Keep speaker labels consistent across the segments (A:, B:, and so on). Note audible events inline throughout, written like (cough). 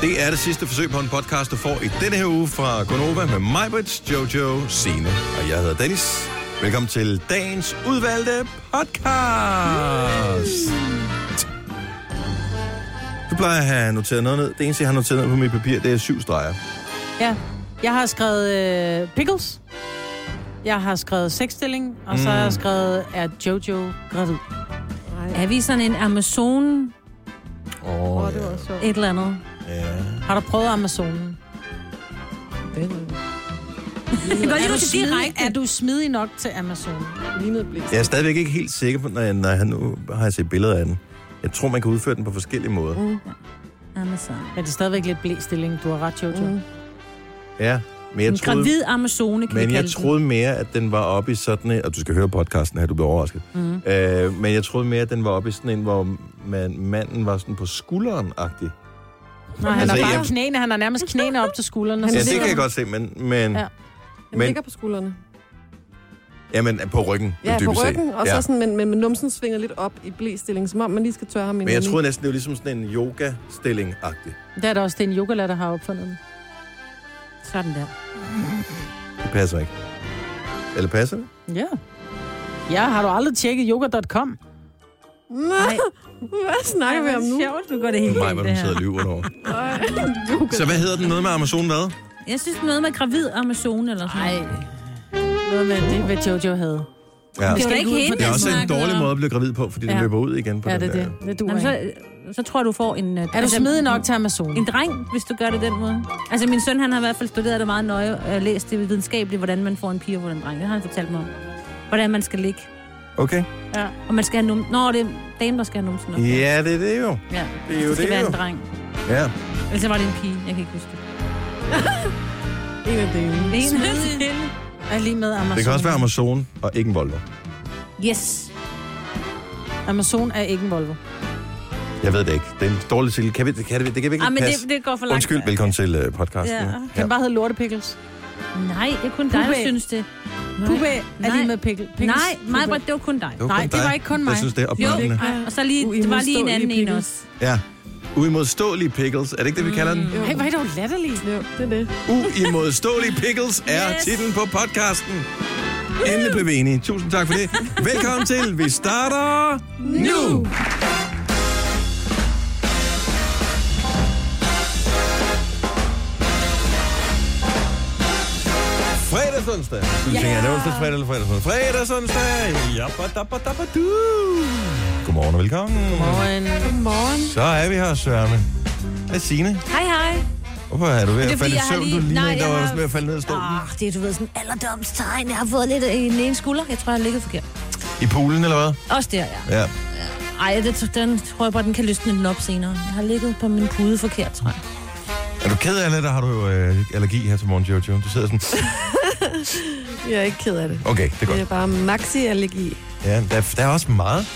A: Det er det sidste forsøg på en podcast, du får i denne her uge fra Gonova med mig, Brits, Jojo, Sine og jeg hedder Dennis. Velkommen til dagens udvalgte podcast. Du plejer at have noteret noget ned. Det eneste, jeg har noteret ned på mit papir, det er syv streger.
B: Ja. Jeg har skrevet øh, pickles. Jeg har skrevet sexstilling. Og så har
A: Mm.
B: jeg skrevet, er Jojo gravid?
C: Er vi sådan en Amazon
A: Åh, oh, ja.
C: et eller andet?
A: ja.
B: Har du prøvet Amazonen?
C: Det går
B: Er
C: lige
B: du,
C: ud til
B: smidig,
C: direkte.
B: er du smidig nok til Amazonen?
D: Lignede blæs.
A: Jeg er stadigvæk ikke helt sikker på, når jeg, når jeg nu har jeg set billeder af den. Jeg tror, man kan udføre den på forskellige måder. Mm.
C: Amazon.
B: Men det er stadigvæk lidt blæstilling. Du har ret, Jojo. Mm.
A: Ja, men jeg
C: En
A: troede...
C: gravid Amazone, kan vi
A: Men
C: kalde
A: jeg troede mere, at den var oppe i sådan en... Og du skal høre podcasten her, du bliver overrasket.
D: Mhm.
A: Mm. Øh, men jeg troede mere, at den var oppe i sådan en, hvor man, manden var sådan på skulderen-agtig.
B: Nå, han
A: Altså,
B: altså, har bare
A: jeg-
B: knæene. Han har nærmest knæene op til skuldrene.
D: Han
A: Ja,
B: Så-
A: det
D: ligger-
A: kan jeg godt se, men... men
B: Ja.
A: ja.
D: Han
A: Men-
D: ligger på skuldrene.
A: Jamen, på ryggen.
D: Ja, på
A: dybest set.
D: ryggen, og så sådan, men, men, men numsen svinger lidt op i blæstilling, som om man lige skal tørre ham ind.
A: Men jeg troede næsten, det var ligesom sådan en yoga-stilling-agtig.
B: Det er da også, det er en yogalærer, der har opfundet den.
C: Sådan der.
A: Det passer ikke. Eller passer det?
B: Ja. Ja, har du aldrig tjekket yoga.com?
D: Nej, hvad snakker vi om nu?
C: Sjovt, du går det helt
A: Nej, hvor
C: galt,
A: den sidder
C: det
A: og
C: her.
A: lyver
D: (laughs)
A: derovre.
D: Yoga.
A: Så hvad hedder den? Noget med Amazon hvad?
C: Jeg synes noget med gravid Amazone eller sådan noget.
B: Noget med det, hvad Jojo havde.
A: Ja.
C: Det var
B: skal
C: da ikke
B: ikke ud på
C: hende,
B: den.
A: Det er
C: vi
A: også en
C: snakkede
A: dårlig
C: om.
A: måde at blive gravid på, fordi den
C: Ja.
A: løber ud igen på
B: Ja,
A: den
B: det er
A: der.
B: det. Det duer
C: Jamen,
B: ikke.
C: så, Altså- så tror jeg, du får en... øh,
B: Er du smidig nok til
C: En
B: Amazonen?
C: dreng, hvis du gør det den måde. Altså, min søn, han har i hvert fald studeret det meget nøje, og læst det videnskabeligt, hvordan man får en pige og hvordan en dreng. Det har han fortalt mig om. Hvordan man skal ligge.
A: Okay.
B: Ja.
C: Og man skal have num... Nå, det er damen, der skal have numsen op.
A: Ja, det er det jo.
C: ja.
A: Det er jo
C: det skal
A: det,
C: være
A: jo.
C: en dreng.
A: Ja.
C: Ellers så var det en pige. Jeg kan ikke huske det.
D: En af delene.
C: En
B: Smidig. Er lige med Amazon.
A: Det kan også være Amazon og ikke en Volvo.
C: Yes.
B: Amazon er ikke en Volvo.
A: Jeg ved det ikke. Det er en dårlig titel. Kan vi, kan det, det kan vi ikke
C: Ah, men
A: passe.
C: det, det går for langt.
A: Undskyld, velkommen til uh, podcasten.
C: Ja.
A: Ja.
B: Kan den bare hedde lortepickles?
C: Nej, det er kun dig, der
B: Puppe.
C: synes det.
B: Pube er lige
C: Nej.
B: med pickle. pickles.
C: Nej, mig,
B: Pube.
C: det var kun dig.
A: var
B: Nej,
A: kun
B: det
A: dig,
B: var ikke kun mig.
A: Jeg synes, det er
C: Jo,
A: opbildende.
C: og så lige,
B: Uh,
C: det var lige en anden en også.
A: Ja. Uimodståelige pickles. Er det ikke det, vi kalder den?
B: Hey, hvor er det jo latterligt.
D: Jo, det er det.
A: Uimodståelige pickles er
C: Yes.
A: titlen på podcasten. Endelig blev vi enige. Tusind tak for det. Velkommen til. Vi starter nu. Fredag, onsdag. Du tænker, er det onsdag, fredag eller fredag, onsdag? Fredag, onsdag. Jabba-dabba-dabba-du. Godmorgen og velkommen.
B: Morgen.
D: Godmorgen.
A: Så er vi her, Sørme. Hvad er Signe?
C: Hej, hej.
A: Hvorfor er du ved
C: Det
A: at falde
C: er,
A: i
C: fordi jeg har
A: søvn?
C: lige-
A: Du ligner
C: Nej,
A: en, der
C: jeg
A: var
C: har-
A: også ved at falde ned af stolen.
C: Ah, det er, du ved, sådan en alderdomstegn. Jeg har fået lidt af en ene skulder. Jeg tror, jeg har ligget forkert.
A: I poolen, eller hvad?
C: Også der, ja.
A: Ja.
C: Ej, det, den tror jeg bare, den kan løsne den op senere. Jeg har ligget på min pude forkert, tror jeg.
A: Er du ked af det, der har du øh, allergi her til morgen, Jojo? Du sidder sådan,
D: Jeg er ikke ked af det.
A: okay, det er
D: Det
A: godt.
D: er bare maxi-allergi.
A: Ja, der, der er også meget.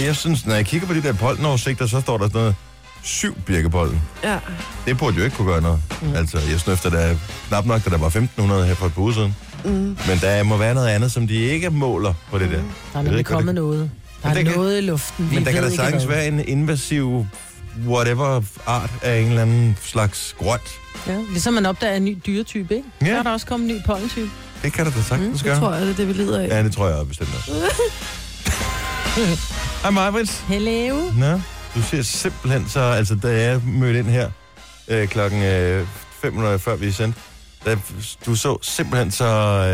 A: Jeg synes, når jeg kigger på de der pollenoversigter, så står der sådan noget, syv birkepollen.
D: Ja.
A: Det burde jo ikke kunne gøre noget. Mm. Altså, jeg snøfter da knap nok, da der var 1.500 her for et par uger siden. Mm. Men der må være noget andet, som de ikke måler på det der.
D: Mm.
B: Der er
A: Jeg ved
B: nemlig
A: ikke, hvad
B: kommet
A: det-
B: noget. Der
A: Men
B: er
A: det kan-
B: noget i luften. Vi
A: Men der kan
B: ved
A: da
B: ikke
A: sagtens
B: hvad.
A: være en invasiv whatever art af en eller anden slags grønt.
B: Ja, ligesom man opdager en ny dyretype, ikke?
A: Ja.
B: Så er der også kommet en ny pollentype.
A: Det kan der da sagtens mm,
D: Det
A: gøre.
D: tror jeg, det er det, vi lider af.
A: Ja, det tror jeg bestemt også. Hej Marvitt.
B: Hello.
A: Nå, du ser simpelthen så, altså da jeg mødte ind her øh, klokken øh, 500 før vi sendte, da, du så simpelthen så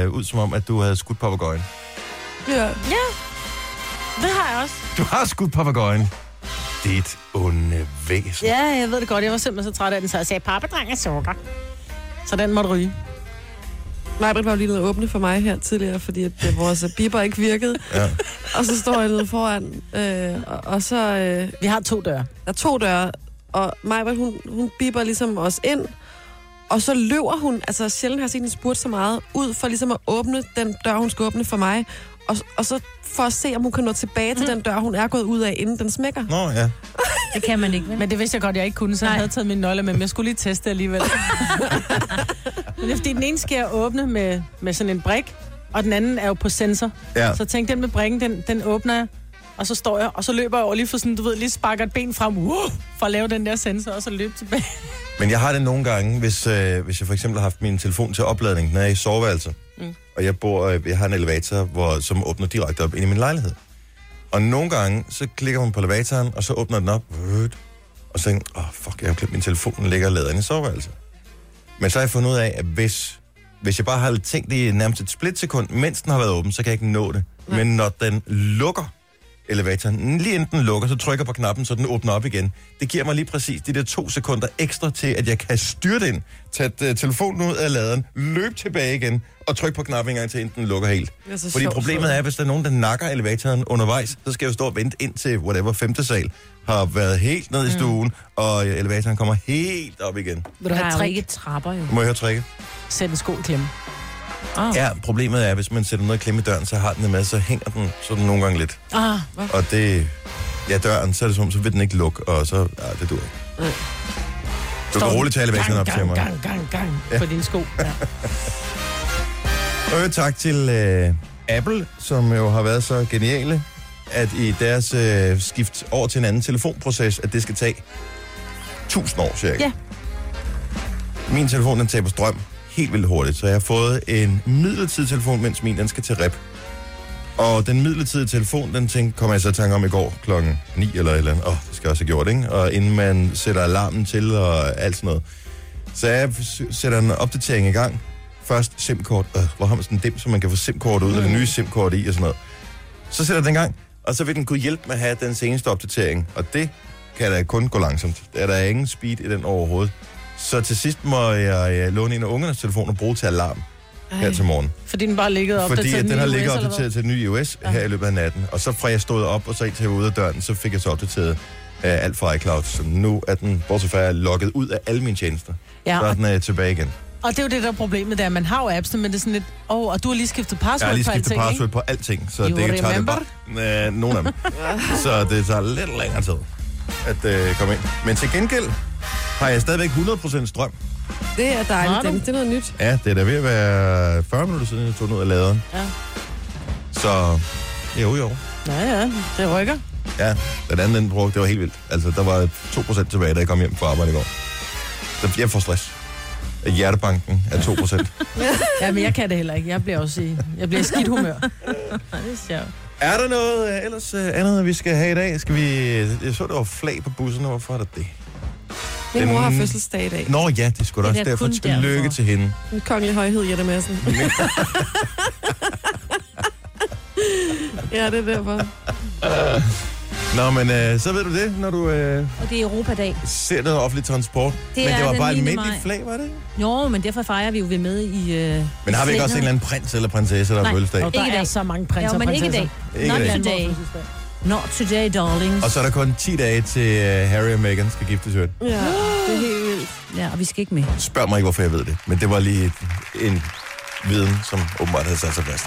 A: øh, ud som om, at du havde skudt papagøjen.
D: Ja.
B: Det har jeg også.
A: Du har skudt papagøjen. Dit onde væsen.
B: Ja, jeg ved det godt. Jeg var simpelthen så træt af den, så jeg sagde, pappedreng er sukker. Så den måtte ryge.
D: Majbrit var jo lige nede og åbne for mig her tidligere, fordi at øh, vores øh, bipper ikke virkede.
A: Ja.
D: Og så står jeg nede foran, øh, og, og så øh,
B: Vi har to døre.
D: der er to døre, og Majbert, hun, hun bipper ligesom os ind, og så løber hun, altså sjældent har jeg set hende spurt så meget, ud for ligesom at åbne den dør, hun skal åbne for mig, og, og så for at se, om hun kan nå tilbage til den dør, hun er gået ud af, inden den smækker.
A: Nå ja.
C: Det kan man ikke, vel?
B: Men det vidste jeg godt, jeg ikke kunne, så jeg
C: Nej.
B: havde taget min nøgle med, men jeg skulle lige teste det (laughs) alligevel. men det er fordi, den ene skal jeg åbne med, med sådan en brik, og den anden er jo på sensor.
A: ja.
B: Så tænk, den med brikken, den, den åbner jeg, Og så står jeg, og så løber jeg over lige for sådan, du ved, lige sparker et ben frem, wow, for at lave den der sensor, og så løbe tilbage.
A: Men jeg har det nogle gange, hvis, øh, hvis jeg for eksempel har haft min telefon til opladning, når jeg er i soveværelset. Mm. Og jeg, bor, øh, jeg har en elevator, hvor, som åbner direkte op ind i min lejlighed. Og nogle gange, så klikker hun på elevatoren, og så åbner den op. Vrødt. Og så tænker jeg, åh oh, fuck, jeg har glemt min telefon, den ligger ladet i soveværelset. Men så har jeg fundet ud af, at hvis, hvis jeg bare har tænkt det i nærmest et splitsekund, mens den har været åben, så kan jeg ikke nå det. Nej. Men når den lukker elevatoren, lige inden den lukker, så trykker jeg på knappen, så den åbner op igen. Det giver mig lige præcis de der to sekunder ekstra til, at jeg kan styre den, tage øh, telefonen ud af laderen, løbe tilbage igen og trykke på knappen en gang til, inden den lukker helt.
D: Det er så
A: Fordi
D: sjovt,
A: problemet er, at hvis der er nogen, der nakker elevatoren undervejs, så skal jeg jo stå og vente ind til, whatever, femte sal har været helt
D: Mm.
A: ned i stuen, og øh, elevatoren kommer helt op igen.
B: Vil du
C: Der
B: have
C: er jo
B: trick?
C: ikke trapper, jo.
A: Nu må jeg høre tricket.
B: Sæt en sko i klemme.
C: Oh.
A: Ja, problemet er, at hvis man sætter noget klemme i døren, så har den det med, så hænger den sådan nogle gange lidt.
B: Ah,
A: Og det... Ja, døren, så er det som, om, så vil den ikke lukke, og så... Ja, det dur ikke. Du kan roligt tale væk op til
B: Mm. gang,
A: mig.
B: gang, gang, gang, ja. på dine sko. Ja.
A: Og tak til øh, Apple, som jo har været så geniale, at i deres øh, skift over til en anden telefonproces, at det skal tage 1000 år cirka.
B: Ja.
A: Min telefon, den taber strøm helt vildt hurtigt, så jeg har fået en midlertidig telefon, mens min, den skal til rep. Og den midlertidige telefon, den tænkte, kom jeg så i tanke om i går klokken 9 eller et eller andet. Åh, oh, det skal jeg også have gjort, ikke? Og inden man sætter alarmen til og alt sådan noget. Så jeg s- sætter en opdatering i gang. Først SIM-kort. Øh, hvor har man sådan en dem, så man kan få SIM-kort ud, mm. eller nye SIM-kort i og sådan noget. Så sætter jeg den i gang, og så vil den kunne hjælpe med at have den seneste opdatering. Og det kan da kun gå langsomt. Der er der ingen speed i den overhovedet. Så til sidst må jeg øh, låne en af ungernes telefon og bruge til alarm Ej. her til morgen.
B: Fordi den bare ligget op
A: Fordi at den har ligget
B: til.
A: opdateret til den nye iOS ja. her i løbet af natten. Og så fra jeg stod op og så indtil jeg var ude af døren, så fik jeg så opdateret øh, alt fra iCloud. Så nu er den, bortset fra at jeg er logget ud af alle mine tjenester,
B: Ja,
A: så er
B: og,
A: den øh, tilbage igen.
B: og, det er jo det, der er problemet, det er, at man har jo appsene, men det er sådan lidt, åh, oh, og du har lige skiftet
A: Jeg
B: password
A: har lige
B: på
A: skiftet
B: alting,
A: password på alting, så
B: You
A: det kan tage det
B: remember?
A: bare... Øh, nogle af
B: (laughs)
A: dem. så det tager lidt længere tid at øh, komme ind. Men til gengæld har jeg stadigvæk 100% strøm.
D: Det er
B: Har
D: dejligt,
B: du?
D: Dennis. Det er noget nyt.
A: Ja, det er da ved at være 40 minutter siden, jeg tog den ud af laderen.
B: Ja.
A: Så jo, jo.
B: Ja, ja, det rykker.
A: Ja, den anden, den brugte, det var helt vildt. Altså, der var 2% tilbage, da jeg kom hjem fra arbejde i går. Så jeg får stress. Af Hjertebanken er 2%.
B: Ja, men jeg kan det heller ikke. Jeg bliver også i, jeg bliver i skidt
C: (laughs)
B: humør. Ej, det er sjovt.
A: (laughs) er der noget øh, ellers øh, andet, vi skal have i dag? Skal vi... Jeg så, der var flag på bussen. Hvorfor er der det?
D: Min
A: Den-
D: mor har fødselsdag i dag.
A: Nå ja, det skulle
C: Det
A: også
C: er
A: derfor.
C: kun derfor.
A: Lykke til hende.
D: Min kongelige højhed,
A: (laughs)
D: Jette Madsen. ja, det er derfor.
A: Nå, men øh, så ved du det, når du øh,
C: Og det er Europadag.
A: ser noget offentlig transport.
C: Det
A: men
C: er
A: det var
C: den
A: bare
C: 9.
A: almindeligt
C: maj.
A: flag, var det ikke?
C: Jo, men derfor fejrer vi jo ved med i... Øh,
A: Men har vi ikke også en eller anden prins eller prinsesse, der har
C: Nej.
A: fødselsdag?
B: Og der
C: Ikke i
B: er
C: dag.
B: så mange prinser
C: Jo, men
B: og
C: ikke i
B: prinsesser.
C: dag.
A: Ikke i
C: Not
A: dag.
C: today. Not today, darlings.
A: Og så er der kun 10 dage til øh, Harry og Meghan skal giftes hørt.
D: Ja, det er helt vildt.
C: Ja, og vi skal ikke med.
A: Spørg mig ikke, hvorfor jeg ved det. Men det var lige et, en viden, som åbenbart havde sat sig fast.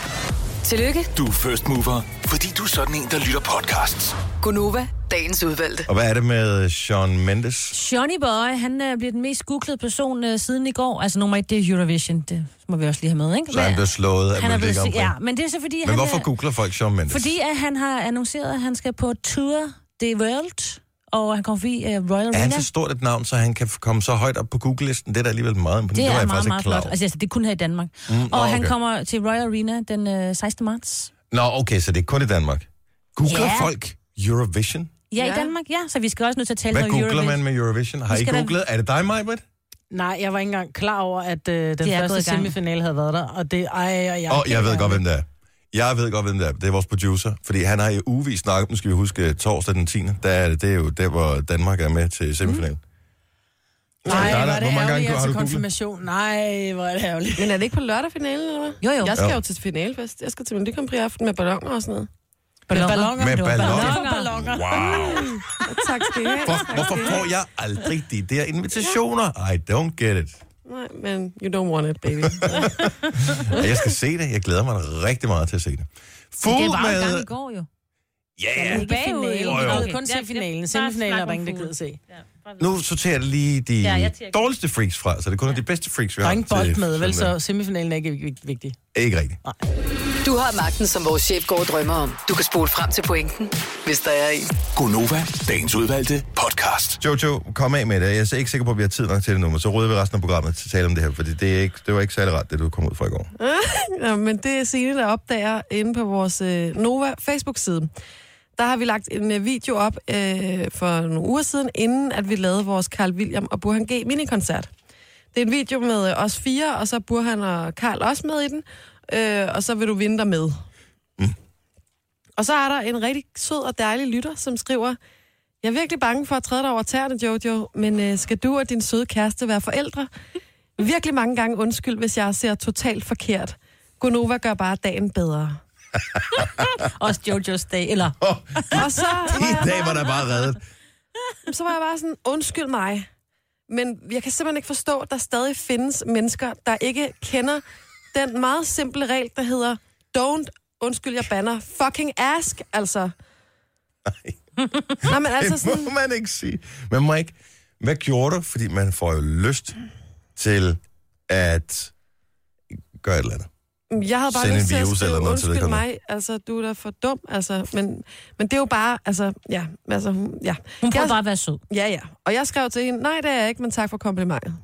E: Tillykke,
F: Du er first mover, fordi du er sådan en, der lytter podcasts.
E: Gunova, dagens udvalgte.
A: Og hvad er det med Sean Mendes?
C: Johnny Boy, han øh, bliver den mest googlede person øh, siden i går. Altså nummer et, det er Eurovision. Det må vi også lige have med, ikke?
A: Så han blev slået af
C: han er blevet,
A: Melodi Grand
C: sig-
A: Prix.
C: ja, men det er så fordi,
A: Men
C: han
A: hvorfor
C: er,
A: googler folk Sean Mendes?
C: Fordi at han har annonceret, at han skal på Tour de World, og han kommer forbi uh, Royal
A: Er
C: Arena.
A: han så stort et navn, så han kan f- komme så højt op på Google-listen? Det er da alligevel meget imponerende. var
C: det er
A: jeg
C: meget,
A: faktisk ikke
C: meget
A: klar
C: flot.
A: over.
C: Altså, altså, det er kun her i Danmark. Mm,
A: nå,
C: og okay. han
A: okay.
C: kommer til Royal Arena den øh, 16. marts.
A: Nå, okay, så det er kun i Danmark. Googler
C: Altså- Ja.
A: folk Eurovision?
C: Ja,
D: Ja.
C: i Danmark, ja. Så vi skal også nødt til at tale
A: Hvad
C: noget
A: googler man
C: Eurovision.
A: med Eurovision? Har
C: Nu
A: I
C: skal der-
A: googlet? Er det dig, Majbert?
B: Nej, jeg var ikke engang klar over, at øh, den
C: er gået
B: første
C: i gang.
B: semifinale havde været der. Og det, ej, og jeg,
A: Åh, oh, jeg ved godt, hvem det er. Jeg ved godt, hvem det er. Det er vores producer. Fordi han har i ugevis snakket, nu skal vi huske øh, torsdag den 10. Der er det, det er jo der, hvor Danmark er med til semifinalen.
B: Mm. Nej,
A: Hvor
B: var det
A: mange gange
B: ærgerligt,
A: har
B: jeg
A: du
B: til
A: googlet?
B: konfirmation. Nej, hvor er det ærgerligt.
D: Men er det ikke på lørdag finalen, eller hvad?
C: Jo, jo.
D: Jeg skal
A: Jo.
D: jo til finalefest. Jeg skal til Melodi Grand Prix i aften med balloner og sådan noget.
B: Med
C: Balloner.
B: ballonger.
A: Med
B: Det var
A: ballonger.
B: ballonger.
A: Wow.
D: Tak skal I have.
A: Hvor, hvorfor får jeg aldrig de der invitationer? I don't get it.
D: Nej, men you don't want it, baby.
A: Og jeg skal se det. Jeg glæder mig rigtig meget til at se det. Fuld
C: Det var jo i gang i
A: med...
C: går, jo.
A: Ja,
B: Ja,
A: yeah.
B: ikke
C: Bagud.
B: finalen.
A: Jo, jo.
B: Jeg havde kun
C: Okay.
B: se finalen.
C: Ja,
B: Semifinalen
C: bare
B: er der
C: snak
B: ingen, der
C: om
B: gider se.
A: Nu sorterer jeg lige de
C: Ja,
A: ja,
C: jeg tænker-
A: dårligste freaks fra, så det kun er de bedste freaks, vi
B: Der
A: har.
B: er ingen
A: til-
B: bold med, vel?
A: sådan,
B: Så semifinalen er ikke vig- vigtig.
A: øh, Ikke rigtigt.
B: Nej.
E: Du har magten, som vores chef går og drømmer om. Du kan spole frem til pointen, hvis der er en.
F: Gonova, dagens udvalgte podcast.
A: Jojo, kom af med det. Jeg er så ikke sikker på, at vi har tid nok til det nu, men så rydder vi resten af programmet til at tale om det her, fordi det, er ikke, det var ikke særlig rart, det du kom ud fra i går.
D: Ja, men det er Signe, der opdager inde på vores øh, Nova Facebook-side. Der har vi lagt en øh, video op øh, for nogle uger siden, inden at vi lavede vores Carl William og Burhan G. minikoncert. Det er en video med øh, os fire, og så Burhan og Karl også med i den, øh, og så vil du vinde dig med. Mm. Og så er der en rigtig sød og dejlig lytter, som skriver, jeg er virkelig bange for at træde dig over tæerne, Jojo, men øh, skal du og din søde kæreste være forældre? Virkelig mange gange undskyld, hvis jeg ser totalt forkert. Gonova gør bare dagen bedre.
C: Også Jojo's Day, eller...
A: Oh, (laughs)
D: Og så var,
A: I
D: jeg,
A: dag var der bare reddet.
D: så var jeg bare sådan, undskyld mig, men jeg kan simpelthen ikke forstå, at der stadig findes mennesker, der ikke kender den meget simple regel, der hedder, don't, undskyld, jeg banner, fucking ask, altså. Nej. Nej, men altså
A: Det
D: sådan,
A: må man ikke sige. Man må ikke... Hvad gjorde du? Fordi man får jo lyst til at gøre et eller andet.
D: jeg havde bare
A: Send en
D: lyst til at
A: virus
D: skrive,
A: eller noget til
D: undskyld
A: vedkommende."
D: mig, altså, du er da for dum, altså, men, men det er jo bare, altså, ja, altså, hun- ja.
C: Hun prøver
D: Jeg-
C: bare at være sød.
D: Ja, ja. Og jeg skrev til hende, nej, det er jeg ikke, men tak for komplimentet.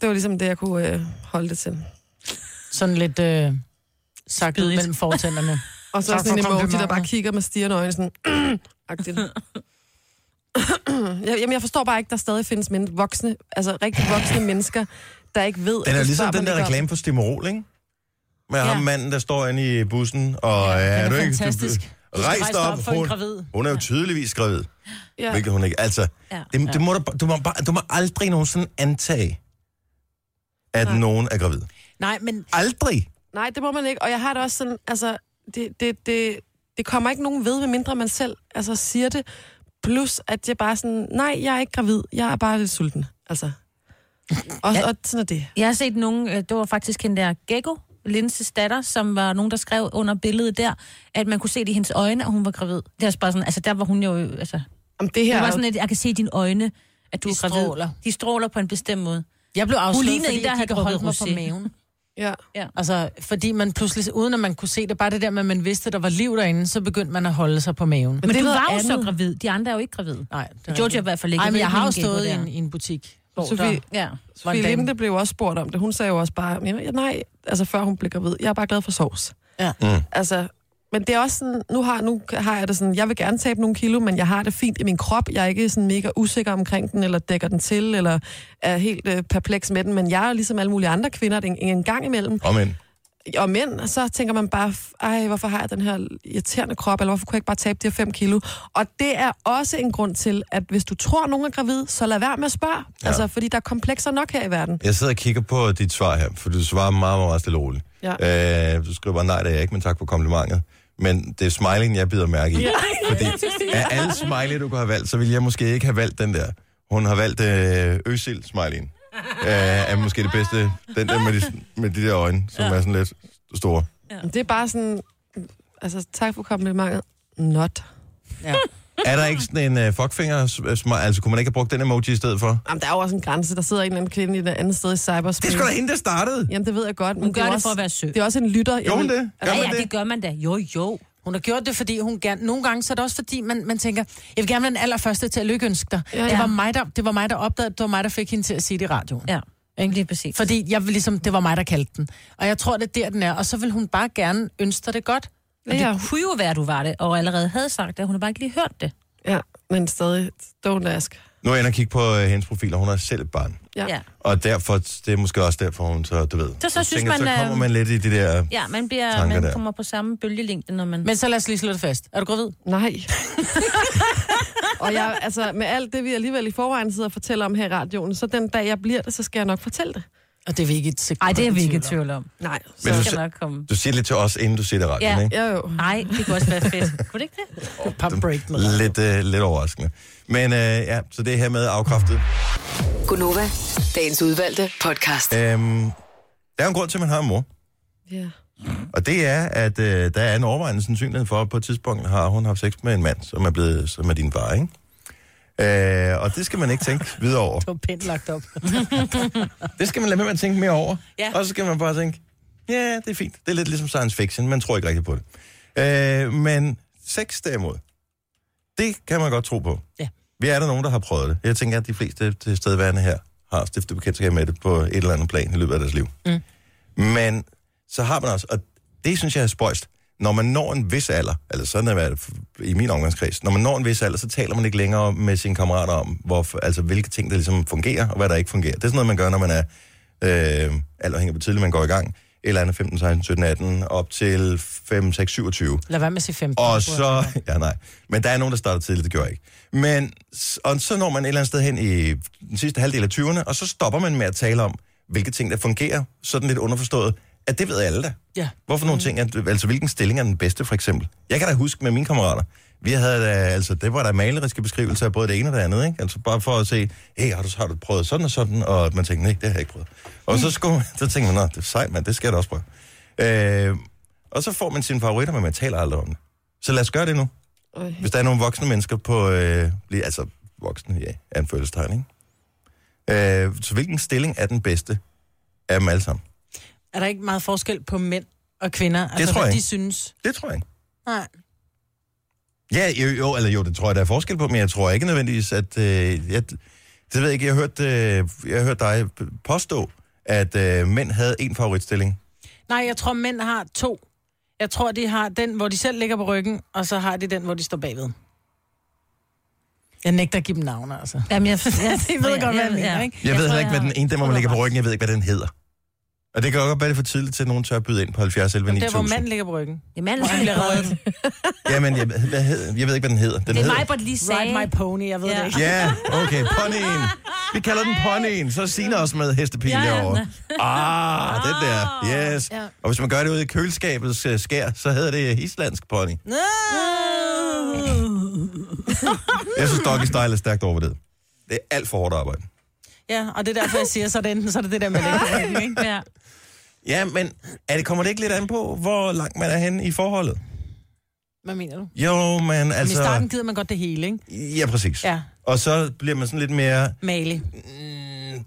D: Det var ligesom det, jeg kunne øh, holde det til.
B: Sådan lidt øh, sagt ud
C: Spydigt.
B: mellem
C: (laughs)
B: fortænderne.
D: Og så
B: Tak
D: er sådan en
B: for
D: emoji, der
B: komplimentet.
D: bare kigger med stigende øjne, sådan... (clears throat) agtigt. Jeg- Jamen, jeg forstår bare ikke, der stadig findes men- voksne, altså rigtig voksne mennesker, der ikke ved...
A: Den er
D: at
A: ligesom
D: spørger
A: den
D: man
A: der
D: ikke om.
A: reklame for Stimorol, ikke? Med ja.
C: Ja.
A: ham manden, der står inde i bussen, og ja, er,
C: er
A: du ikke...
C: fantastisk.
A: Du, rejs dig op,
B: for en
A: hun,
B: gravid.
A: hun er jo tydeligvis gravid, ja.
D: Ja.
A: hvilket hun ikke... Altså,
C: Ja.
A: det, det må du, du, må, bare- du må aldrig nogensinde antage, at Nej. nogen er gravid.
B: Nej, men
A: Aldrig!
D: Nej, det må man ikke. Og jeg har det også sådan, altså, det, det, det, det kommer ikke nogen ved, medmindre man selv altså, siger det. Plus, at jeg bare sådan, nej, jeg er ikke gravid, jeg er bare lidt sulten. Altså. Og, ja. og sådan er det.
C: Jeg har set nogen, øh, det var faktisk hende der Gekko, Linses datter, som var nogen, der skrev under billedet der, at man kunne se det i hendes øjne, at hun var gravid. Det er også bare sådan, altså der var hun jo, øh, altså, det
D: Om det her,
C: var sådan, at jeg kan se i dine øjne, at du
B: De
C: er gravid.
B: stråler.
C: De stråler på en bestemt måde.
B: jeg blev afsløret,
C: lignede
B: fordi
C: en, der
B: jeg
C: havde
B: gik og holdt
C: drukket
B: mig på
C: rosé.
B: maven.
D: ja.
B: Altså, fordi man pludselig, uden at man kunne se det, bare det der med, at man vidste, at der var liv derinde, så begyndte man at holde sig på maven.
C: Men
D: det
C: du
D: er
C: var jo
D: noget
C: så
D: andet.
C: gravid. De andre er jo ikke gravide.
B: Nej, det er
C: Jojo er i hvert fald ikke.
B: Ej,
C: ved
B: men jeg
C: ikke,
B: har jo
C: hvilken Gekko
B: stået i
C: det er.
B: en, i en butik, hvor
D: Sofie-
B: der
C: Ja.
B: var
D: Sofie
B: en dame.
D: Linde blev også spurgt om det. Hun sagde jo også bare, "Ja, nej, altså før hun blev gravid, jeg er bare glad for sovs.
B: Ja. (laughs)
A: Mm.
D: Altså, men det er også sådan, nu har, nu har jeg det sådan, jeg vil gerne tabe nogle kilo, men jeg har det fint i min krop. Jeg er ikke sådan mega usikker omkring den, eller dækker den til, eller er helt øh, perpleks med den. Men jeg er jo ligesom alle mulige andre kvinder en, en gang imellem.
A: Om end.
D: Og mænd, og så tænker man bare, "F- ej, hvorfor har jeg den her irriterende krop, eller hvorfor kunne jeg ikke bare tabe de her 5 kilo? Og det er også en grund til, at hvis du tror, nogen er gravid, så lad være med at spørge. Ja. Altså, fordi der er komplekser nok her i verden.
A: Jeg sidder og kigger på dit svar her, for du svarer meget, meget, meget stille og roligt. Øh, du skriver bare, nej, det er jeg ikke, men tak for komplimentet. Men det er smileyen, jeg bider mærke i. Fordi af alle smiley, du kunne have valgt, så ville jeg måske ikke have valgt den der. Hun har valgt øh, Øsil smileyen. Øh, er måske det bedste. Den der med de, med de der øjne, som ja. er sådan lidt store.
D: Det er bare sådan, altså tak for komplimentet. Not.
B: Ja.
A: Er der ikke sådan en øh, fuckfinger smiley? Altså, kunne man ikke have brugt den emoji i stedet for?
D: Jamen, der er jo også en grænse. Der sidder en eller anden kvinde i et andet sted i cyberspace.
A: Det er sgu da hende, der startede.
D: Jamen, det ved jeg godt. Men
C: Hun gør
D: er
C: det
D: også,
C: for at være sød.
D: Det er også en lytter. Jeg
A: Gjorde hun
D: vil-
A: det? Gør
C: Ja,
A: man
C: ja, det
A: det?
C: gør man da. Jo, jo.
B: Hun har gjort det, fordi hun gerne... Nogle gange så er det også, fordi man, man tænker, jeg vil gerne være den allerførste til at lykkeønske dig. Ja,
D: Ja,
B: ja. Det,
D: ja.
B: var mig, der, det var mig, der opdagede, det. det var mig, der fik hende til at sige det i radioen.
C: Ja, ikke lige præcis. For
B: Fordi jeg vil ligesom, det var mig, der kaldte den. Og jeg tror, det er der, den er. Og så vil hun bare gerne ønske dig det godt.
D: Ja,
C: det kunne jo være, du var det, og allerede havde sagt det, og hun har bare ikke lige hørt det.
D: ja, men stadig. Don't ask.
A: Nu er jeg inde og kigge på øh, hendes profil, og hun er selv et barn.
D: Ja.
C: Ja.
A: Og derfor, det er måske også derfor, hun så, du ved.
C: Så- så
A: jeg
C: synes
A: tænker, så
C: man,
A: kommer
C: øh,
A: man lidt i det der...
C: Ja, man, bliver,
A: Tanker
C: man
A: der.
C: kommer på samme bølgelængde, når man...
B: Men så lad os lige slå det fast. Er du gravid?
C: (laughs)
D: Nej. og jeg, altså, med alt det, vi alligevel i forvejen sidder og fortæller om her i radioen, så den dag, jeg bliver det, så skal jeg nok fortælle det.
B: Og det er vi ikke et sekund.
C: Nej, det er vi ikke i
B: tvivl
C: tvivl om.
D: Nej. Så,
A: Men
C: Det
A: du,
C: skal
A: se-
C: nok komme.
A: du siger lidt til os, inden du siger det i radioen,
C: Ja.
A: ikke?
D: ja, jo.
C: Nej, det kunne også være fedt. Kunne det ikke det?
B: om. Pump break med dig.
A: Lidt, øh, lidt overraskende. Men øh, ja, så det er hermed afkræftet.
E: Gonova, dagens udvalgte podcast.
A: Øhm, der er jo en grund til, at man har en mor.
D: Ja.
A: Og det er, at øh, der er en overvejende sandsynlighed for, at på et tidspunkt har hun haft sex med en mand, som er, blevet, som er din far, ikke? Øh, og det skal man ikke tænke videre over.
B: Det var pænt lagt op.
A: Det skal man lade være med at tænke mere over.
C: Ja.
A: Og så skal man bare tænke, ja, det er fint. Det er lidt ligesom science fiction, man tror ikke rigtigt på det. Øh, men sex derimod, det kan man godt tro på.
B: Ja.
A: Vi er der nogen, der har prøvet det. Jeg tænker, at de fleste tilstedeværende her har stiftet bekendtskab med det på et eller andet plan i løbet af deres liv.
B: Mm.
A: Men så har man også, og det synes jeg er spøjst, når man når en vis alder, eller sådan har det været i min omgangskreds, når man når en vis alder, så taler man ikke længere med sine kammerater om, hvor, altså, hvilke ting, der ligesom fungerer, og hvad der ikke fungerer. Det er sådan noget, man gør, når man er, øh, alt afhængig af, hvor tidligt man går i gang, et eller andet 15, 16, 17, 18, op til 5, 6, 27.
B: Lad være med at sige 15.
A: Og så... (laughs) Ja, nej. Men der er nogen, der starter tidligt, det gør jeg ikke. Men s- og så når man et eller andet sted hen i den sidste halvdel af 20'erne, og så stopper man med at tale om, hvilke ting, der fungerer, sådan lidt underforstået, at det ved alle da.
B: Ja.
A: Hvorfor nogle ting, er, altså hvilken stilling er den bedste, for eksempel? Jeg kan da huske med mine kammerater, vi havde da, altså, det var der maleriske beskrivelser af både det ene og det andet, ikke? Altså bare for at se, hey, har du, har du prøvet sådan og sådan? Og man tænkte, nej, det har jeg ikke prøvet. Og så, skulle, man- så tænkte man, nå, det er sejt, mand, det skal jeg da også prøve. Øh, og så får man sine favoritter, men man taler aldrig om det. Så lad os gøre det nu.
D: Øj.
A: Hvis der er nogle voksne mennesker på, øh, lige- altså voksne, ja, anførselstegn, ikke? Øh, så hvilken stilling er den bedste af dem alle sammen?
B: Er der ikke meget forskel på mænd og kvinder? Det
A: tror jeg
B: hvad de
A: ikke.
B: synes?
A: Det tror jeg ikke.
B: Nej.
A: Ja, jo, jo, eller jo, det tror jeg, der er forskel på, men jeg tror ikke nødvendigvis, at... Øh, jeg, det ved jeg ikke, jeg har hørt, øh, jeg har hørt dig påstå, at øh, mænd havde en favoritstilling.
B: Nej, jeg tror, mænd har to. Jeg tror, de har den, hvor de selv ligger på ryggen, og så har de den, hvor de står bagved. Jeg nægter at give dem navne, altså.
C: Jamen, jeg, jeg,
B: I ved godt, hvad jeg mener, ikke?
A: Jeg, jeg ved
C: tror,
A: heller ikke, hvad
C: har-
A: den ene, den hvor man ligger på ryggen, jeg ved ikke, hvad den hedder. Og det kan godt være, det er for tidligt til, at nogen tør at byde ind på 70 11
B: Der, hvor
A: 9000.
B: manden ligger på ryggen.
C: Jamen,
B: Hvor han bliver reddet.
A: Jamen, jeg, hvad hed, jeg ved ikke, hvad den hedder. Den
C: Det er
A: hedder...
C: mig, Britt lige sagde.
B: Ride (laughs) my pony, jeg ved
C: Ja.
B: det ikke.
A: Ja, okay, ponyen. Vi kalder den ponyen, så Signe også med hestepil
C: Ja,
A: ja,
C: ja.
A: derovre. Ah, den der, yes.
C: Ja.
A: Og hvis man gør det ude i køleskabets øh, skær, så hedder det islandsk pony. Jeg synes, doggy style er stærkt overvurderet. Det er alt for hårdt arbejde.
B: Ja, og det er derfor, jeg siger, så er det enten så er det, det der med det. Ikke?
C: Ja.
A: Ja, men er det, kommer det ikke lidt an på, hvor langt man er henne i forholdet?
B: Hvad mener du?
A: Jo, men
B: Altså... Men i starten
A: altså...
B: gider man godt det hele, ikke?
A: Ja, præcis.
B: Ja.
A: Og så bliver man sådan lidt mere...
B: Mali.
A: mm,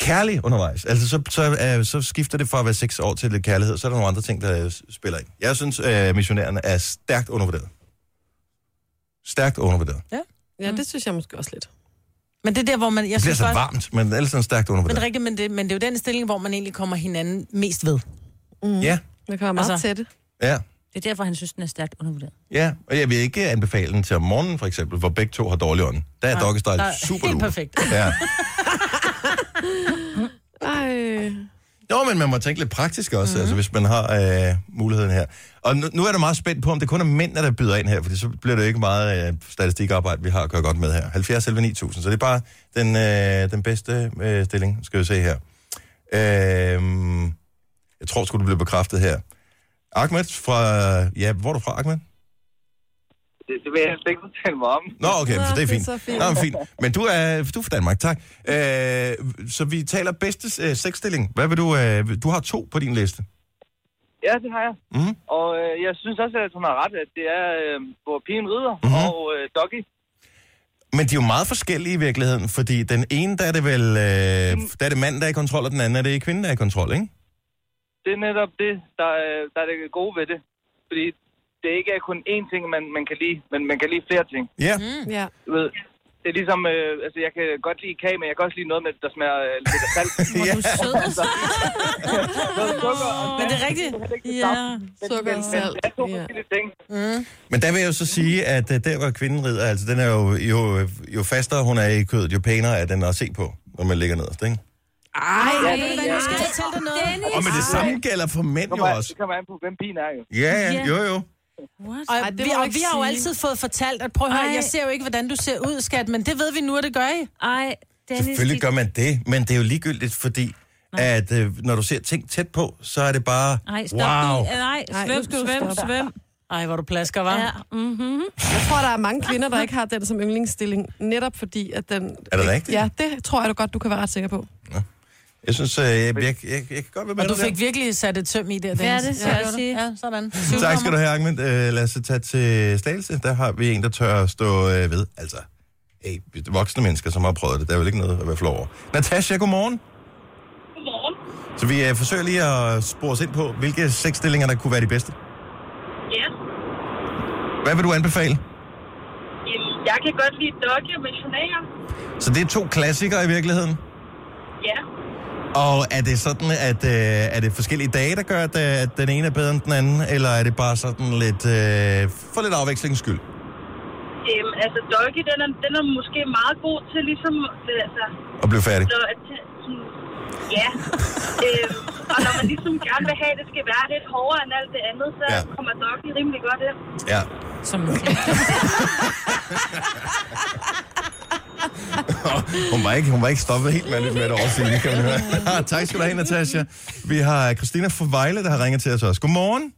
A: kærlig undervejs. Altså, så, så, øh, så skifter det fra at være seks år til lidt kærlighed, så er der nogle andre ting, der øh, s- spiller ind. Jeg synes, øh, missionærerne er stærkt undervurderet. Stærkt undervurderet.
D: Ja, det synes jeg måske også lidt.
B: Men Altså, det er der, hvor man... Jeg
A: Det bliver
B: synes
A: så
B: godt,
A: varmt, men ellers er den stærkt
B: men, det er
A: undervurderet.
B: rigtigt, men, det, men det er jo den stilling, hvor man egentlig kommer hinanden mest ved.
A: Ja,
D: Det kan være meget
B: Altså-
D: altså... tætte.
A: ja.
C: Det er derfor, han synes, den er stærkt undervurderet.
A: Ja, og jeg vil ikke anbefale den til om morgenen, for eksempel, hvor begge to har dårlig ånd. Der er doggy
B: Der (laughs)
A: style
B: er
A: super
B: helt
A: lur.
B: perfekt.
A: Ja.
D: Ej.
C: Hmm.
A: Jo, men man må tænke lidt praktisk også, mm-hmm. altså, hvis man har øh, muligheden her. Og nu, nu er det meget spændt på, om det kun er mænd, der byder ind her, for så bliver det jo ikke meget øh, statistikarbejde, vi har at gøre godt med her. 70 11 9000, så det er bare den, øh, den bedste øh, stilling, skal vi se her. Øh, jeg tror, skulle du blive bekræftet her. Ahmed fra... Ja, hvor er du fra, Ahmed?
G: Det, det vil jeg helst ikke fortælle mig om.
A: Nå, okay, så det er
D: det er
A: fint.
D: så fint.
A: Nå, men fint. Men du er, du er fra Danmark, tak. Øh, så vi taler bedste øh, sexstilling. Hvad vil du... Øh, du har to på din liste.
G: Ja, det har jeg.
A: Mhm.
G: Og øh, jeg synes også, at hun har ret, at det er, øh, hvor pigen rider
A: Mhm.
G: og øh, doggy.
A: Men de er jo meget forskellige i virkeligheden, fordi den ene, der er det vel øh, der er det mand, der er i kontrol, og den anden er det kvinde, der er i kontrol, ikke?
G: Det er netop det, der, øh, der er det gode ved det. Fordi det ikke er kun én ting, man, man kan lide, men man kan lide flere ting.
A: Ja,
D: Ja.
G: Du ved, det er ligesom, øh, altså jeg kan godt lide kage, men jeg kan også lide noget, med, der smager øh, lidt af salt.
C: Hvor
A: Ja.
C: du er sød.
G: noget sukker. og
B: Men det er rigtigt.
C: Ja.
D: Sukker og
G: Men
D: salt.
G: det er to
D: Ja.
G: forskellige ting.
A: men der vil jeg jo så sige, at øh, der hvor kvinden rider, altså den er jo, jo, jo fastere hun er i kødet, jo pænere er den at se på, når man ligger nederst, ikke?
B: Ej,
G: Ja,
B: ved du hvad,
G: ja.
B: nu skal jeg fortælle dig noget.
A: Og men det samme gælder for mænd
G: Kommer
A: jo
G: an-
A: også.
G: Det kommer an på, hvem pigen er jo.
A: Ja, ja, jo jo.
B: Og,
D: Ej, det må
B: vi,
D: du
B: og
D: ikke
B: vi har jo
D: sige.
B: altid fået fortalt, at prøv at høre,
C: Ej.
B: jeg ser jo ikke, hvordan du ser ud, skat, men det ved vi nu, at det gør I.
C: Ej, Dennis.
A: Selvfølgelig
C: dit-
A: gør man det, men det er jo ligegyldigt, fordi at øh, når du ser ting tæt på, så er det bare,
C: Ej, stop.
A: wow.
C: du. Nej,
D: Ej, nu
C: svøm,
D: skal du
C: svøm,
D: stoppe.
C: svøm.
B: Ej, hvor du plasker, var.
C: Ja,
B: Ja.
C: mhm.
D: Jeg tror, der er mange kvinder, der ikke har den som yndlingsstilling, netop fordi, at den...
A: Er det rigtigt?
D: Ja, det tror jeg da godt, du kan være ret sikker på.
A: Jeg synes, øh, jeg, jeg, jeg, jeg kan godt være med
B: Og du
A: dig der.
B: fik virkelig sat et søm i der, Dennis.
C: det skal jeg
B: gjorde
C: sige.
B: du. Ja, sådan.
A: Tak skal du have, Ahmed. Øh, lad os tage til Slagelse. Der har vi en, der tør at stå øh, ved. Altså, hey, voksne mennesker, som har prøvet det. Der er vel ikke noget at være flov over. Natasha, godmorgen. Så vi øh, forsøger lige at spore os ind på, hvilke sexstillinger, der kunne være de bedste.
H: Ja.
A: Hvad vil du anbefale?
H: Jamen, Jeg kan godt lide doggy og missionærer.
A: Så det er to klassikere i virkeligheden.
H: Ja.
A: Og er det sådan, at øh, er det forskellige dage, der gør, at, øh, at den ene er bedre end den anden? Eller er det bare sådan lidt, øh, for lidt afvekslingens skyld?
H: Øhm, altså, doggy, den er, den er måske meget god til ligesom... øh, Altså,
A: Og blive færdig?
H: når, at, sådan,
A: (laughs)
H: ja. øhm, og når man ligesom gerne vil have, at det skal være lidt hårdere end alt det andet, så
A: Ja.
H: ja. kommer doggy rimelig godt ind.
A: Ja.
C: Som
A: Hun var ikke, hun var ikke stoppet helt med med det over siden, kan man høre. (laughs) tak skal du have, Natasha. Vi har Christina fra Vejle, der har ringet til os også. Godmorgen.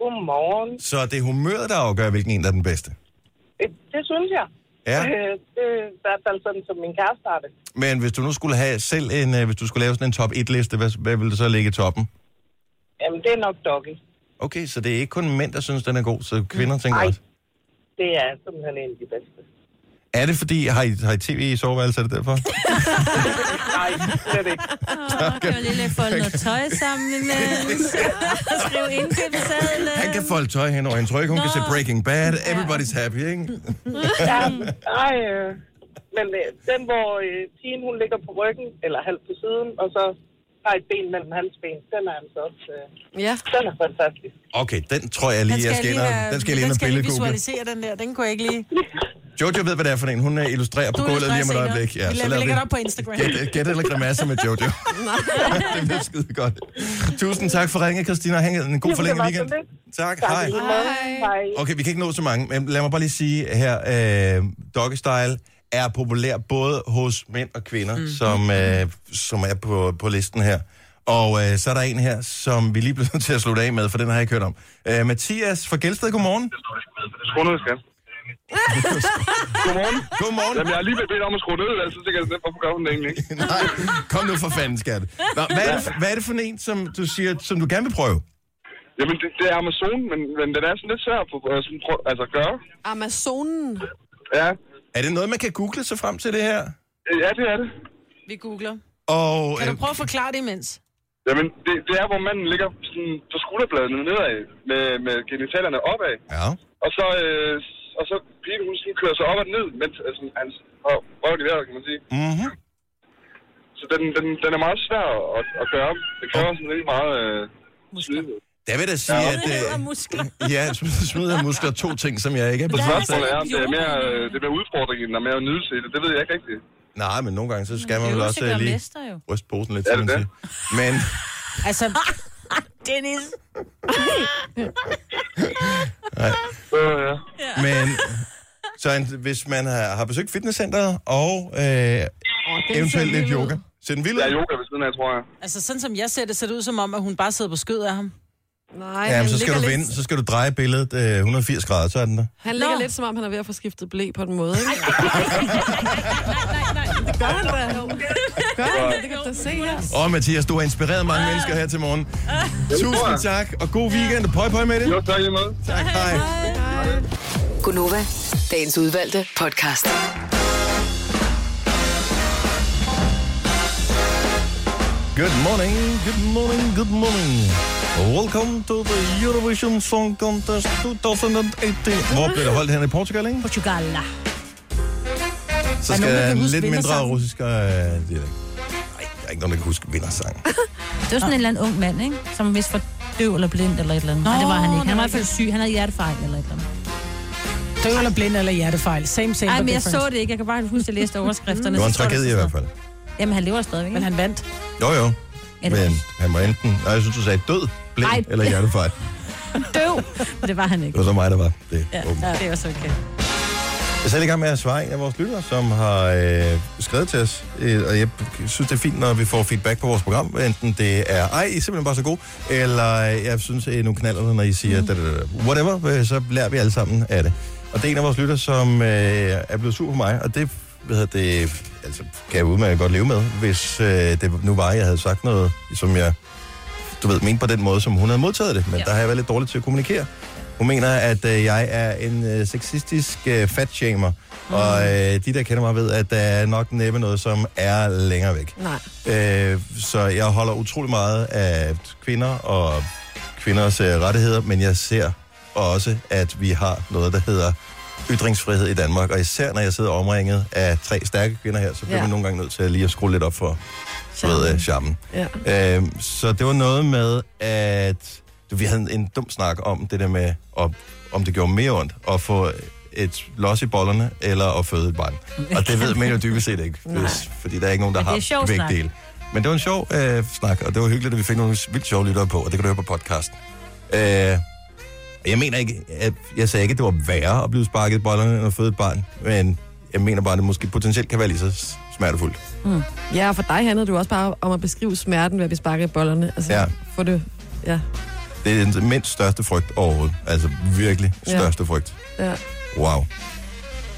H: Godmorgen.
A: Så det er humøret, der afgør, hvilken en, der er den bedste.
H: Det, det synes jeg. Øh,
A: Ja.
H: det er i hvert fald sådan, som min kæreste har det.
A: Men hvis du nu skulle have selv en, øh, hvis du skulle lave sådan en top 1-liste, hvad, hvad ville det så ligge i toppen?
H: Jamen, det er nok doggy.
A: Okay, så det er ikke kun mænd, der synes, den er god, så kvinder tænker
H: Ej.
A: også.
H: Det er simpelthen en af de bedste.
A: Er det fordi, har I, har I tv i soveværelset, er det derfor?
H: Nej, slet ikke.
C: Det var lige lidt
A: (laughs)
C: folde noget tøj sammen imens. Skriv indkøbssedlen.
A: Han kan folde tøj hen over en tryk, hun kan se Breaking Bad, everybody's happy, ikke?
H: Ja, nej, øh, men øh, den, hvor øh, pigen hun ligger på ryggen, eller halvt på siden, og så har et ben mellem hans ben, den er altså også, øh,
D: Ja.
H: den er fantastisk.
A: Okay, den tror jeg lige, jeg skal ind og- den skal jeg lige ind og billedgoogle.
B: visualisere, den der. Den kunne jeg ikke lige...
A: Jojo ved, hvad det er for en. Hun øh, illustrerer på gulvet lige om et øjeblik.
B: Ja, vi
A: så
B: lader, vi
A: lader
B: lægger det op på Instagram.
A: Gæt, øh, gæt eller grimasser med Jojo. (laughs) det bliver skide godt. Tusind tak for ringet, Christina. Ha' en god
H: det
A: forlænget
H: var
A: weekend.
H: så lidt.
A: Tak,
H: Tak,
A: hej.
H: i lige måde. Hej.
A: Okay, vi kan ikke nå så mange, men lad mig bare lige sige her, øh, doggystyle er populær både hos mænd og kvinder, mm. som, øh, som er på, på listen her. Og øh, så er der en her, som vi lige blev nødt (laughs) til at slutte af med, for den har jeg ikke hørt om. Øh, Mathias fra Gældsted, godmorgen.
G: Skru ned, skat. Godmorgen.
A: Godmorgen.
G: Jamen, jeg har lige blevet bedt om at skrue ned, altså, så tænker jeg, hvorfor gør hun det egentlig ikke?
A: Nej, kom nu for fanden, skat. Nå, hvad, er det, hvad er det for en, som du siger, som du gerne vil prøve?
G: Jamen, det, det er Amazon, men, men den er sådan lidt svær at få, øh, sådan, prø- altså, at gøre.
D: Amazonen.
G: Ja.
A: Er det noget, man kan google sig frem til det her?
G: Øh, Ja, det er det.
B: Vi googler.
A: Og,
B: Kan
A: øh,
B: du prøve at forklare det imens?
G: Jamen, det, det er, hvor manden ligger sådan, på skulderbladene nedad, med, med genitalerne opad.
A: ja.
G: Og så, øh, og så pigen, hun sådan kører sig op og ned, mens altså, hans røv røv i vejret, kan man sige.
A: Mm-hmm.
G: Så den, den, den er meget svær at, at gøre. Det kræver sådan rigtig meget... Øh, smidighed.
A: Der vil jeg da sige,
G: Ja.
A: at... Øh,
C: Og muskler.
A: ja, sm- smid og muskler er to ting, som jeg ikke er på
G: Spørgsmålet er, om det er mere, øh, det er mere udfordring, end der er mere nydelse i det. Det ved jeg ikke rigtigt.
A: Nej, men nogle gange, så skal man vel
C: Øvelse
A: også
C: gør
A: øh, lige
C: mester jo.
A: ryste posen lidt,
G: Er
A: som man
G: det
A: siger. Men
B: Altså,
C: (laughs) Dennis.
G: Så,
I: øh,
G: ja.
A: Men så en, hvis man har, har besøgt fitnesscenteret og øh,
D: ligesom
A: eventuelt lidt yoga, så den vild.
G: Der
A: ud.
G: er yoga ved siden af, tror jeg.
B: altså, sådan som jeg ser det, ser det ud som om, at hun bare sidder på skødet af ham.
D: Nej,
A: Ja,
D: han
A: men så skal du
D: ligger lidt-
A: vende, så skal du dreje billedet øh, 180 grader, så er den der.
D: Han ligger
B: Nå.
D: lidt, som om han er ved at få skiftet blæ på den måde, (laughs) ikke? Det gør han da. Gør han da, det kan du da se. Ja.
A: Og Mathias, du har inspireret mange mennesker her til (laughs) morgen. Tusind tak, og god weekend. Pøj, pøj med det.
G: Jo, tak i lige måde.
A: Tak, hej.
E: Gunova, dagens udvalgte podcast.
A: Good morning, good morning, good morning. Welcome to the Eurovision Song Contest 2018. Hvor blev det holdt her i Portugal, ikke?
C: Portugal.
A: Så
B: Er der
A: skal
B: nogen, der kan
A: en
B: huske
A: lidt mindre
B: vindersangen?
A: russisk øh, dialekt. Nej, der er ikke nogen, der kan huske vindersang.
C: Det var sådan en eller anden ung mand, ikke? Som vist var døv eller blind eller et eller andet. Nej, det var han ikke. Han var i hvert fald syg. Han havde hjertefejl eller et eller andet.
B: Døv eller blind eller hjertefejl. Same, same,
C: Nej,
B: but
C: men jeg
B: different.
C: så det ikke. Jeg kan bare huske, at jeg læste overskrifterne.
A: Det var en
C: Så står der
A: tragedie i
C: sådan
A: hvert fald.
C: noget. Jamen, han lever stadigvæk.
B: Men
C: ikke?
B: han vandt.
A: Jo, jo.
C: Ja, det var
A: Men han var enten... Nej, jeg synes, du sagde død, blind
C: Ej.
A: eller hjertefejl.
C: døv. (laughs) Men det var han
A: Det
C: ikke.
A: var så mig, der var det. Ja.
C: Ja, det er også okay.
A: Jeg er selv i gang med at svare en af vores lyttere, som har øh, skrevet til os. Øh, og jeg synes, det er fint, når vi får feedback på vores program. hvad Enten det er, ej, I er simpelthen bare så gode, eller jeg synes, I er nogle knaller, når I siger, mm. da, da, da, whatever, øh, så lærer vi alle sammen af det. Og det er en af vores lytter, som øh, er blevet sur på mig, og det, hvad hedder det altså, kan jeg udmærket godt leve med, hvis øh, det nu var, jeg havde sagt noget, som jeg du ved, mente på den måde, som hun havde modtaget det, men ja. der har jeg været lidt dårlig til at kommunikere. Hun mener, at øh, jeg er en øh, sexistisk øh, fatshamer, mm. og øh, de, der kender mig, ved, at der er nok næppe noget, som er længere væk.
D: Nej.
A: Øh, så jeg holder utrolig meget af kvinder og kvinders øh, rettigheder, men jeg ser også, at vi har noget, der hedder ytringsfrihed i Danmark, og især når jeg sidder omringet af tre stærke kvinder her, så bliver
D: Ja.
A: ja. man nogle gange nødt til at lige at skrue lidt op for du ved, øh, charmen.
D: Ja.
A: Øhm, så det var noget med, at du, vi havde en, en dum snak om det der med, om, om det gjorde mere ondt at få et los i bollerne, eller at føde et barn. Og det ved man jo dybest set ikke, hvis, fordi der er ikke nogen, der
C: Men det er
A: har
C: sjov
A: begge
C: snak.
A: dele. Men det var en sjov øh, snak, og det var hyggeligt, at vi fik nogle vildt sjove lyttere på, og det kan du høre på podcasten. Øh, jeg mener ikke, at, jeg sagde ikke, at det var værre at blive sparket i bollerne end at føde et barn, men jeg mener bare, at det måske potentielt kan være lige så smertefuldt.
D: ja, og for dig handlede det jo også bare om at beskrive smerten ved at blive sparket i bollerne. Altså,
A: Ja.
D: ja. For det, ja.
A: Det er den mindst største frygt overhovedet. Altså virkelig
D: Ja.
A: største ja. frygt.
D: ja.
A: Wow.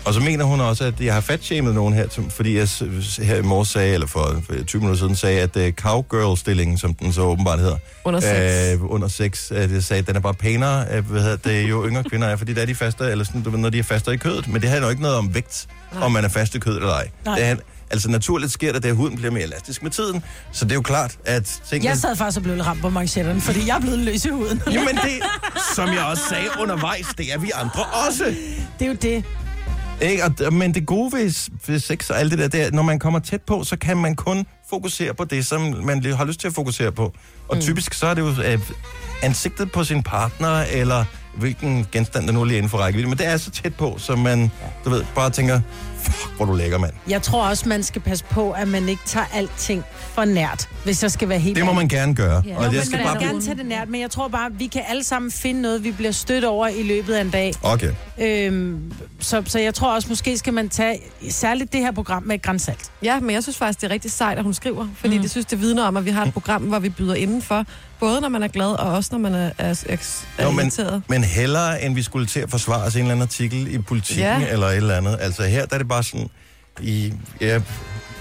A: Og så mener hun også, at jeg har fatshamed nogen her, som- fordi jeg s- s- her i morges sagde, eller for for 20 minutter siden sagde, at uh, cowgirl-stillingen, som den så åbenbart hedder,
D: Under sex.
A: Øh, under sex, at jeg sagde, at den er bare pænere, øh, hvad hedder det, jo yngre kvinder er, fordi der er de fastere, eller sådan, du ved, når de er fastere i kødet. Men det handler jo ikke noget om vægt, Nej. om man er fast i kødet eller ej.
B: Nej.
A: Det er, altså naturligt sker det, at huden bliver mere elastisk med tiden, så det er jo klart, at tingene...
B: Jeg sad faktisk og blev lidt ramt på manchetterne, fordi jeg er blevet løs i huden.
A: Jamen det, som jeg også sagde undervejs, det er vi andre også.
B: Det er jo det.
A: Ikke? Og, d- men det gode ved, s- ved sex og alt det der, det er, at når man kommer tæt på, så kan man kun fokusere på det, som man li- har lyst til at fokusere på. Og mm. typisk så er det jo øh, ansigtet på sin partner, eller hvilken genstand, der nu lige er inden for rækkevidde. Men det er så tæt på, så man, du ved, bare tænker, fuck, hvor er du lækker, mand.
B: Jeg tror også, man skal passe på, at man ikke tager alting for nært, hvis jeg skal være helt
A: Det må
B: ærlig.
A: man gerne gøre.
C: Ja.
A: Og
C: Jo,
A: jeg
B: Men
A: skal
B: man
A: bare...
B: må gerne tage det nært, men jeg tror bare, vi kan alle sammen finde noget, vi bliver stødt over i løbet af en dag.
A: Okay.
B: Øhm, så, så jeg tror også, måske skal man tage særligt det her program med et grænsalt.
D: Ja, men jeg synes faktisk, det er rigtig sejt, at hun skriver. Fordi mm. det synes, det vidner om, at vi har et program, hvor vi byder indenfor. Både når man er glad, og også når man er, er, er, er
A: Nå, men,
D: irriteret.
A: men hellere end vi skulle til at forsvare os i en eller anden artikel i politikken
D: Ja.
A: ja. eller et eller andet. Altså her, der er det bare sådan, i, ja,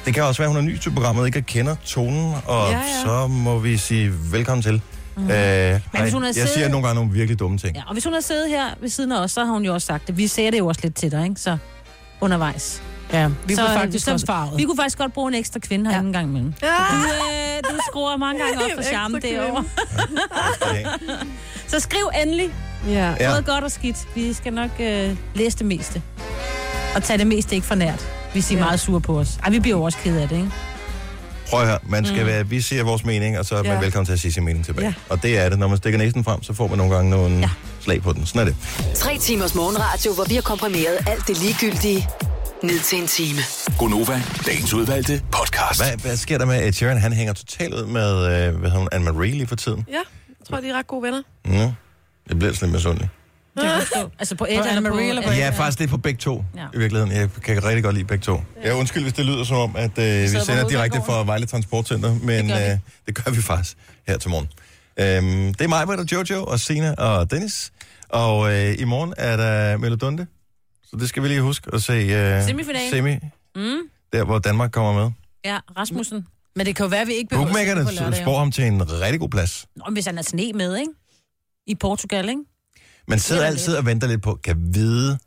A: det kan også være, hun er ny til programmet, ikke kender tonen, og ja,
D: Ja, ja.
A: ja. så må vi sige velkommen til. Mm. Øh, ej,
C: hvis hun har
A: jeg
C: siddet-
A: siger nogle gange nogle virkelig dumme ting. Ja.
C: Ja, og hvis hun havde siddet her ved siden af os, så har hun jo også sagt det. Vi ser det jo også lidt til dig, ikke? Så undervejs.
B: Ja, vi
C: så,
B: så, faktisk så, også farvet.
C: Vi kunne faktisk godt bruge en ekstra kvinde herinde ja. en gang (laughs) imellem.
D: Ja,
C: Du, øh, du skruer mange gange op
D: En (laughs)
C: for
D: ekstra
C: charme
D: kvinde.
C: derovre. Så skriv endelig
D: ja.
A: (laughs) Ja.
C: både godt og skidt. Vi skal nok øh, læse det meste. Og tage det meste ikke for nært, hvis I er
D: Ja.
C: meget sure på os. Ej, vi bliver jo også ked af det, ikke?
A: Prøv at høre, man skal mm. være, vi siger vores mening, og så er man
D: Ja.
A: velkommen til at sige sin mening tilbage.
D: Ja.
A: Ja. Og det er det, når man stikker næsen frem, så får man nogle gange nogle ja. slag på den. Sådan er det.
E: Tre timers morgenradio, hvor vi har komprimeret alt det ligegyldige ned til en time.
F: Gonova, dagens udvalgte podcast.
A: Hvad, hvad sker der med, at Sharon han hænger totalt ud med, øh, hvad hedder hun, Anne-Marie lige for tiden?
D: ja, jeg tror, de er ret gode venner.
A: Ja. Det bliver sådan lidt misundelig.
C: Det kan jeg forstå. Altså på et
B: Anna
C: eller på...
B: Maria eller på-
A: Ja, faktisk lidt på begge to,
C: Ja.
A: ja. i virkeligheden. Jeg kan rigtig godt lide begge to. Ja, undskyld, hvis det lyder som om, at øh, vi sender
B: på
A: direkte
B: hovedbanegården.
A: fra Vejle Transportcenter, men det
C: Det gør vi.
A: gør, øh, det gør vi faktisk her til morgen. Øhm, det er mig, Britt og Jojo, og Sina og Dennis. Og øh, i morgen er der Melodunde, så det skal vi lige huske at se. Øh,
C: Semifinalen.
A: Semi, mm. der hvor Danmark kommer med.
C: Ja, Rasmussen.
B: Men det kan jo være, at vi ikke behøver at se det på
A: Bookmakerne
B: lørdag, jo.
A: spår ham til en rigtig god plads.
C: Nå, men hvis han er sne med, ikke? I Portugal, ikke?
A: Man sidder
C: Sidder
A: altid og venter lidt på, kan vide,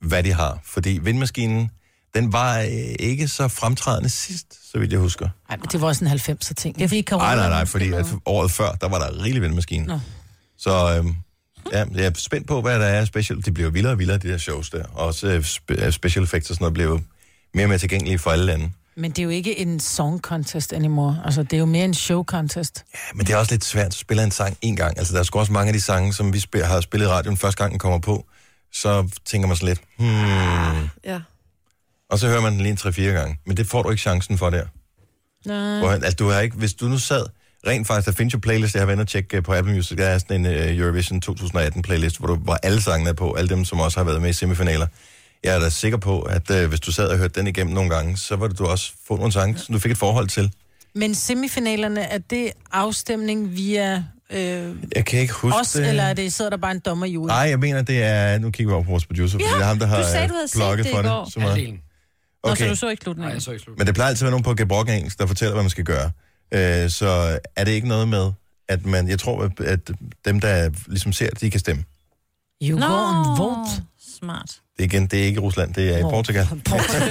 A: hvad de har. Fordi vindmaskinen, den var øh, ikke så fremtrædende sidst, så vidt jeg husker.
B: Ej, men det var også en 90'er ting.
C: Det er fordi corona...
A: Nej, nej, nej, fordi at året før, der var der rigelig vindmaskine.
B: Nå.
A: Så øhm, ja, jeg er spændt på, hvad der er special. Det bliver jo vildere og vildere, de der shows der. Også øh, spe- øh, special effects og sådan noget bliver jo mere og mere tilgængelige for alle lande.
B: Men det er jo ikke en song contest anymore. Altså, det er jo mere en show contest.
A: Ja, men det er også lidt svært at spille en sang en gang. Altså, der er sgu også mange af de sange, som vi spil- har spillet i radioen første gang, den kommer på. Så tænker man sådan lidt, hmm.
D: Ja.
A: Og så hører man den lige en 3-4 gange. Men det får du ikke chancen for der.
B: Nej.
A: Hvor, altså, du har ikke, hvis du nu sad, rent faktisk, der findes jo playlist, jeg har været inde og tjekke øh, på Apple Music, der er sådan en uh, Eurovision 2018 playlist, hvor, du, hvor alle sangene er på, alle dem, som også har været med i semifinaler. Jeg er da sikker på, at uh, hvis du sad og hørte den igennem nogle gange, så var det du også få nogle sange, som du fik et forhold til.
B: Men semifinalerne, er det afstemning via øh,
A: Jeg kan ikke huske
B: os, eller er det, sidder der bare en dommer i ude?
A: Nej, jeg mener, det er... Nu kigger vi over på vores producer, fordi
C: Ja,
A: det er ham, der har
C: du sagde,
A: øh,
C: du havde set
A: blogget
C: det i
A: for
C: går.
A: det. Så meget.
C: Nå, så
A: Okay,
C: du så ikke slutningen?
A: men det plejer altid at være nogen på gebrokken engelsk, der fortæller, hvad man skal gøre. Øh, så er det ikke noget med, at man, jeg tror, at- at dem, der ligesom ser, det, de kan stemme.
B: You no. won't vote.
C: Smart.
A: Det er igen, det er ikke i Rusland, det er i
B: Hvor-
A: Portugal.
B: Portugal.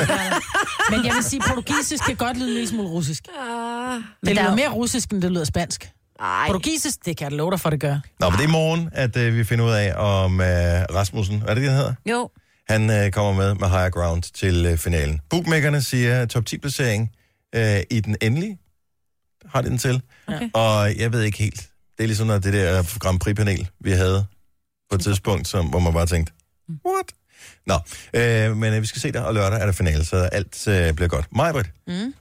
B: (laughs) Men jeg vil sige, portugisisk kan godt lyde en lille smule russisk.
D: Ah,
B: Det
C: der
B: lyder
C: er-
B: mere russisk, end det lyder spansk.
D: ej.
B: Portugisisk, det kan jeg love dig for, det gør.
A: Nå, men det er i morgen, at øh, vi finder ud af, om øh, Rasmussen, er det det, han hedder?
C: Jo.
A: Han øh, kommer med med Higher Ground til øh, finalen. Bookmakerne siger top 10-placering øh, i den endelige. Har de den til.
C: Okay.
A: Og jeg ved ikke helt. Det er ligesom noget, det der Grand Prix-panel, vi havde på et tidspunkt, som, hvor man bare tænkte, what? Nå, øh, men øh, vi skal se det, og lørdag er der finale, så alt øh, bliver godt. Majbrit, mm.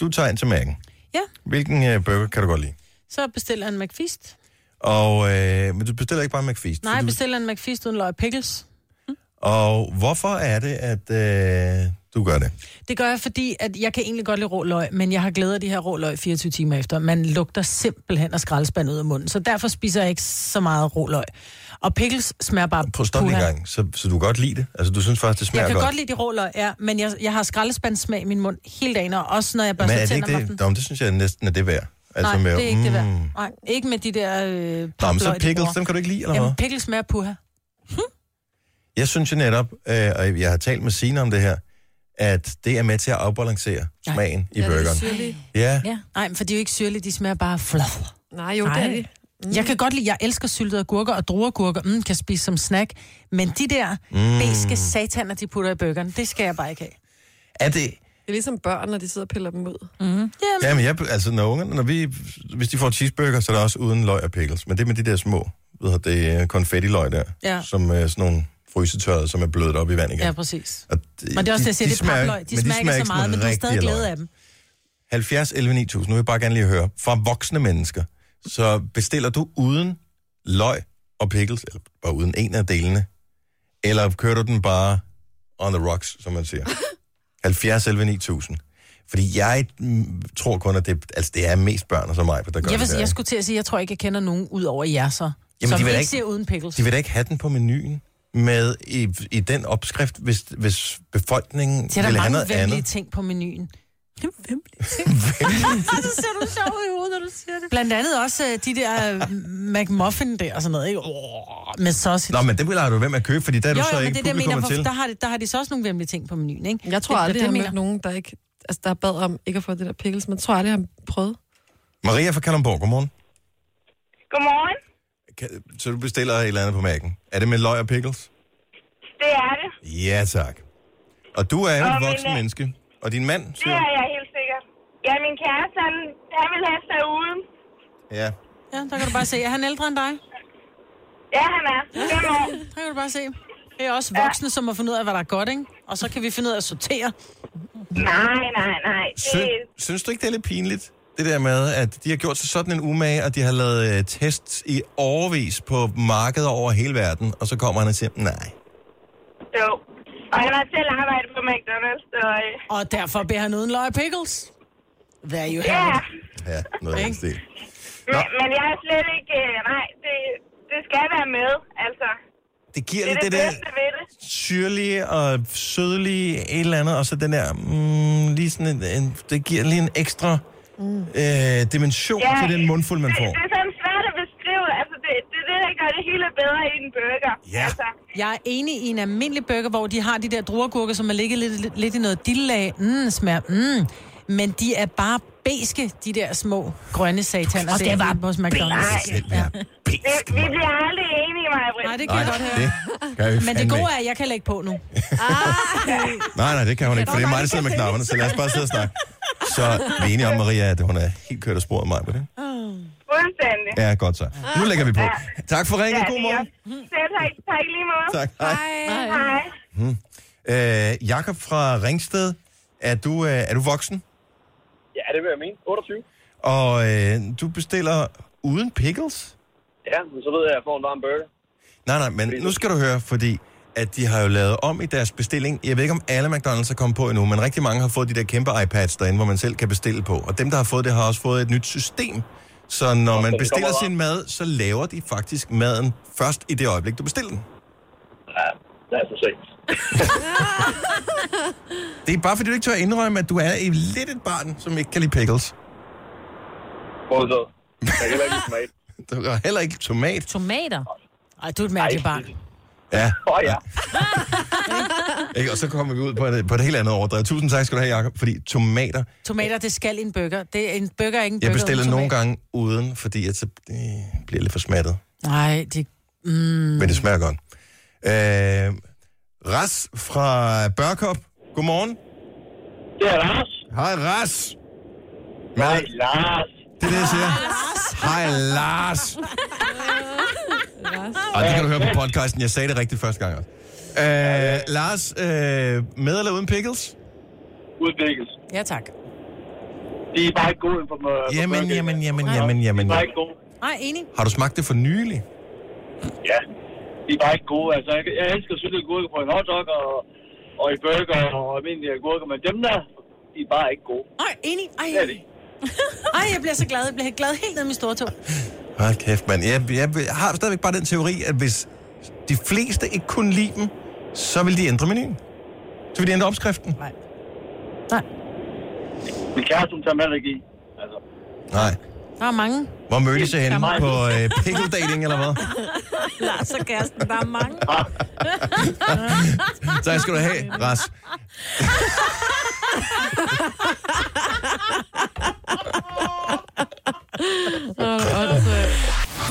A: du tager ind til mærken.
B: Ja.
A: Hvilken øh, burger kan du godt lide?
B: Så bestiller en McFeast.
A: Og, øh, men du bestiller ikke bare en McFeast.
B: Nej,
A: for du,
B: bestiller en McFeast uden løg og pickles.
A: Og hvorfor er det, at øh, du gør det?
B: Det gør jeg, fordi at jeg kan egentlig godt lide rå løg, men jeg har glædet af de her rå løg 24 timer efter. Man lugter simpelthen af skraldespand ud af munden, så derfor spiser jeg ikke så meget rå løg. Og pickles smager bare...
A: Prøv at stoppe lige
B: puha.
A: en gang, så, så du kan godt lide det. Altså, du synes faktisk, det smager
B: Jeg kan
A: godt.
B: godt lide de rå løg, ja, men jeg, jeg har skraldespandssmag i min mund hele dagen, og også når jeg
A: men er
B: børster
A: det
B: tænder om
A: ikke
B: aftenen.
A: det? Nå, men det synes jeg næsten er det værd. Altså,
B: Nej,
A: med,
B: det er ikke det værd.
A: mm.
B: Nej, ikke med de der øh,
A: Nå, men
B: papløg,
A: så
B: de
A: pickles,
B: bruger.
A: dem kan du ikke lide, eller hvad?
B: Jamen, pickles smager af puha.
A: Jeg synes jo netop, øh, og jeg har talt med Sina om det her, at det er med til at afbalancere smagen i burgeren. Ja,
C: Ja.
B: Nej, men for de er jo ikke syrlige, de smager bare flad.
D: Nej, jo, det er
B: Ej.
D: det.
B: Mm. Jeg kan godt lide, jeg elsker syltede agurker og drueagurker, mm, kan spise som snack, men de der mm. beske sataner, de putter i burgeren, det skal jeg bare ikke have.
A: er det...
D: Det er ligesom børn, når de sidder og piller dem ud.
B: Mm.
A: Jamen, jeg, altså, når ungerne, når vi, hvis de får cheeseburger, så er det også uden løg og pickles. Men det er med de der små, ved du, det er konfettiløg der,
B: Ja.
A: som er sådan nogle frysetørrede, som er blødet op i vand igen.
B: Ja, præcis.
A: Og de,
B: Men det er også det, jeg siger, det er papløg.
A: men
B: De smager ikke så
A: som
B: meget, men du er stadig
A: rigtige
B: glad
A: løg.
B: af dem.
A: 70 11 9000, nu vil jeg bare gerne lige høre, fra voksne mennesker, så bestiller du uden løg og pickles, eller bare uden en af delene, eller kører du den bare on the rocks, som man
B: (laughs)
A: siger? 70 11 9000. Fordi jeg mm, tror kun, at det, altså det er mest børn og så mig, der gør
B: Jeg,
A: det
B: vil,
A: der.
B: jeg
A: ikke?
B: skulle til at sige, jeg tror ikke, jeg kender nogen ud over jer så,
A: Jamen,
B: som
A: de vil
B: ikke
A: ikke-
B: ser uden pickles.
A: De vil da ikke have den på menuen med i, i den opskrift, hvis, hvis befolkningen
B: Der er
A: vil
B: der
A: have
B: mange
A: noget
B: venlige
A: andet.
B: ting på menuen.
A: (laughs)
C: (laughs) Så Altså, ser du sjov i hovedet, når du siger det.
B: Blandt andet også øh, de der øh, McMuffin der og sådan noget, ikke? Oh, med sausage.
A: Nå, men det vil du hvem at købe, fordi der er du
B: jo,
A: så
B: jo, men
A: ikke
B: det er det, jeg mener.
A: publikummet til.
B: Hvor, der, har, de- der har de så også nogle vemmelige ting på menuen, ikke?
D: Jeg tror
B: Det-
D: aldrig,
B: det
D: jeg har
B: mener-
D: mødt nogen, der ikke... Altså, der bad om ikke at få det der pickles, men jeg tror aldrig, jeg har prøvet.
A: Maria fra Kalundborg, godmorgen.
J: Godmorgen.
A: Kan, så du bestiller et eller andet på mærken. Er det med løg og pickles?
J: Det er det.
A: Ja, tak. Og du er jo
J: Åh,
A: et
J: men,
A: voksen
J: øh,
A: menneske. Og din mand,
J: Det
A: siger
J: er jeg helt sikkert. Ja, min kæreste, han, han vil have sig uden.
A: Ja.
B: Ja, der kan du bare se. Er han ældre end dig?
J: Ja, han er. Fem år.
B: Der kan du bare se. Det er også voksne, som har fundet ud af, hvad der er godt, ikke? Og så kan vi finde ud af at sortere.
J: Nej, nej, nej. Det,
A: Sy- synes du ikke, det er lidt pinligt? Det der med, at de har gjort sig sådan en umage, og de har lavet øh, tests i overvis på markeder over hele verden, og så kommer han og siger, nej.
J: jo. Og han har selv arbejdet på McDonald's, så... øh,
B: Og derfor beder han uden løg og pickles. There you
J: Ja,
B: have it.
A: Ja, noget af den stil.
J: men, men jeg er slet ikke... øh, Nej, det, det skal være med, altså.
A: Det giver
J: Det er
A: lidt
J: det,
A: det der
J: bedste ved det.
A: syrlige og sødlige et eller andet, og så den der, mm, lige sådan en, en, det giver lige en ekstra øh, dimension
J: Mm. Ja.
A: til den mundfuld, man
J: Det,
A: får.
J: det er sådan svært at beskrive. Altså, det, det er det, der gør det hele bedre i en burger.
A: Ja.
J: Altså,
B: Jeg er enig i en almindelig burger, hvor de har de der druergurker, som er ligget lidt, lidt, lidt i noget dillag. Mm, smager. Mm. Men de er bare beske, de der små grønne sataner.
C: Og det
B: der
C: var
B: hos McDonald's.
A: Den her
J: det,
A: besk,
J: vi
A: mand.
J: bliver aldrig enige, mig, Britt.
B: Nej, (laughs) det kan
A: Nej,
B: jeg godt høre.
A: det kan vi
B: Men
A: fandme
B: det gode
A: ikke.
B: er, at jeg kan lægge på nu.
A: Nej, nej, det kan hun ikke, for det er mig, der sidder med knapperne, så lad os bare sidde og snakke. Så vi er enige om, Maria, at hun er helt kørt af sporet mig på det.
J: Fuldstændig.
A: Ja, godt så. Nu lægger vi på. Tak for ringen. God morgen.
J: Selv tak, tak i lige måde.
A: Tak. Hej.
J: Hej.
A: Øh, Jakob fra Ringsted, er du, øh, er du voksen?
G: Ja, det vil jeg mene. 28.
A: Og øh, du bestiller uden pickles?
G: Ja, men så ved jeg, at jeg får en varm burger.
A: Nej, nej, men nu skal du høre, fordi at de har jo lavet om i deres bestilling. Jeg ved ikke, om alle McDonald's er kommet på endnu, men rigtig mange har fået de der kæmpe iPads derinde, hvor man selv kan bestille på. Og dem, der har fået det, har også fået et nyt system. Så når man
G: den
A: bestiller
G: kommer
A: sin mad, så laver de faktisk maden først i det øjeblik, du bestiller den.
G: Ja, lad os nu se.
A: (laughs) Det er bare fordi, du ikke tør indrømme, at du er i lidt et barn, som ikke kan lide pickles.
G: Prøv så.
I: Jeg kan heller ikke lide tomat.
A: (laughs) Du har heller ikke tomat.
C: Tomater?
B: Ej, du er et mærkeligt barn.
A: Ja.
I: Åh ja.
A: (laughs) Ikke? Og så kommer vi ud på et, på et helt andet overdrev. Tusind tak skal du have, Jacob, fordi tomater...
B: Tomater, det skal i en burger. Det er en burger er ikke en burger
A: Jeg
B: uden
A: bestiller nogle
B: tomat.
A: gange uden, fordi at så øh, bliver jeg lidt for smattet.
B: Nej, det... Mm.
A: Men det smager godt. Øh, Ras fra Børkop. Godmorgen.
I: Det er Lars.
A: Hej, Ras.
I: Nej, Lars.
A: Det er det, jeg siger. Hej, Lars. Ej, det kan du høre på podcasten. Jeg sagde det rigtigt første gang også. Øh, Lars, øh, med eller uden pickles?
I: Udvikles.
B: Ja, tak.
I: De er bare ikke gode inden for mig.
A: Jamen, jamen, jamen, jamen, jamen.
I: De er bare ikke gode.
B: Nej, enig.
A: Har du smagt det for nylig?
I: Ja. De er bare ikke gode. Altså, jeg, jeg elsker syltet gurke på en hotdog og, og i burger og almindelige gurker, men dem der, de er bare ikke gode.
B: Ej, enig. Ej,
I: Det er de.
B: Ej, jeg bliver så glad. Jeg bliver glad helt ned i min store tog.
A: Hold kæft, mand. Jeg, jeg har stadigvæk bare den teori, at hvis de fleste ikke kunne lide dem, så vil de ændre menuen. Så vil de ændre opskriften.
B: Nej. Nej,
I: Min kæreste, hun tager mælk i. Altså,
A: Nej.
B: der er mange.
A: Hvor mødtes I henne?
I: Jamen.
A: På øh, pickle dating, eller
B: (laughs)
A: hvad?
C: Lars og kæresten, der er
A: (laughs)
C: mange.
A: Så skal du have, Ras.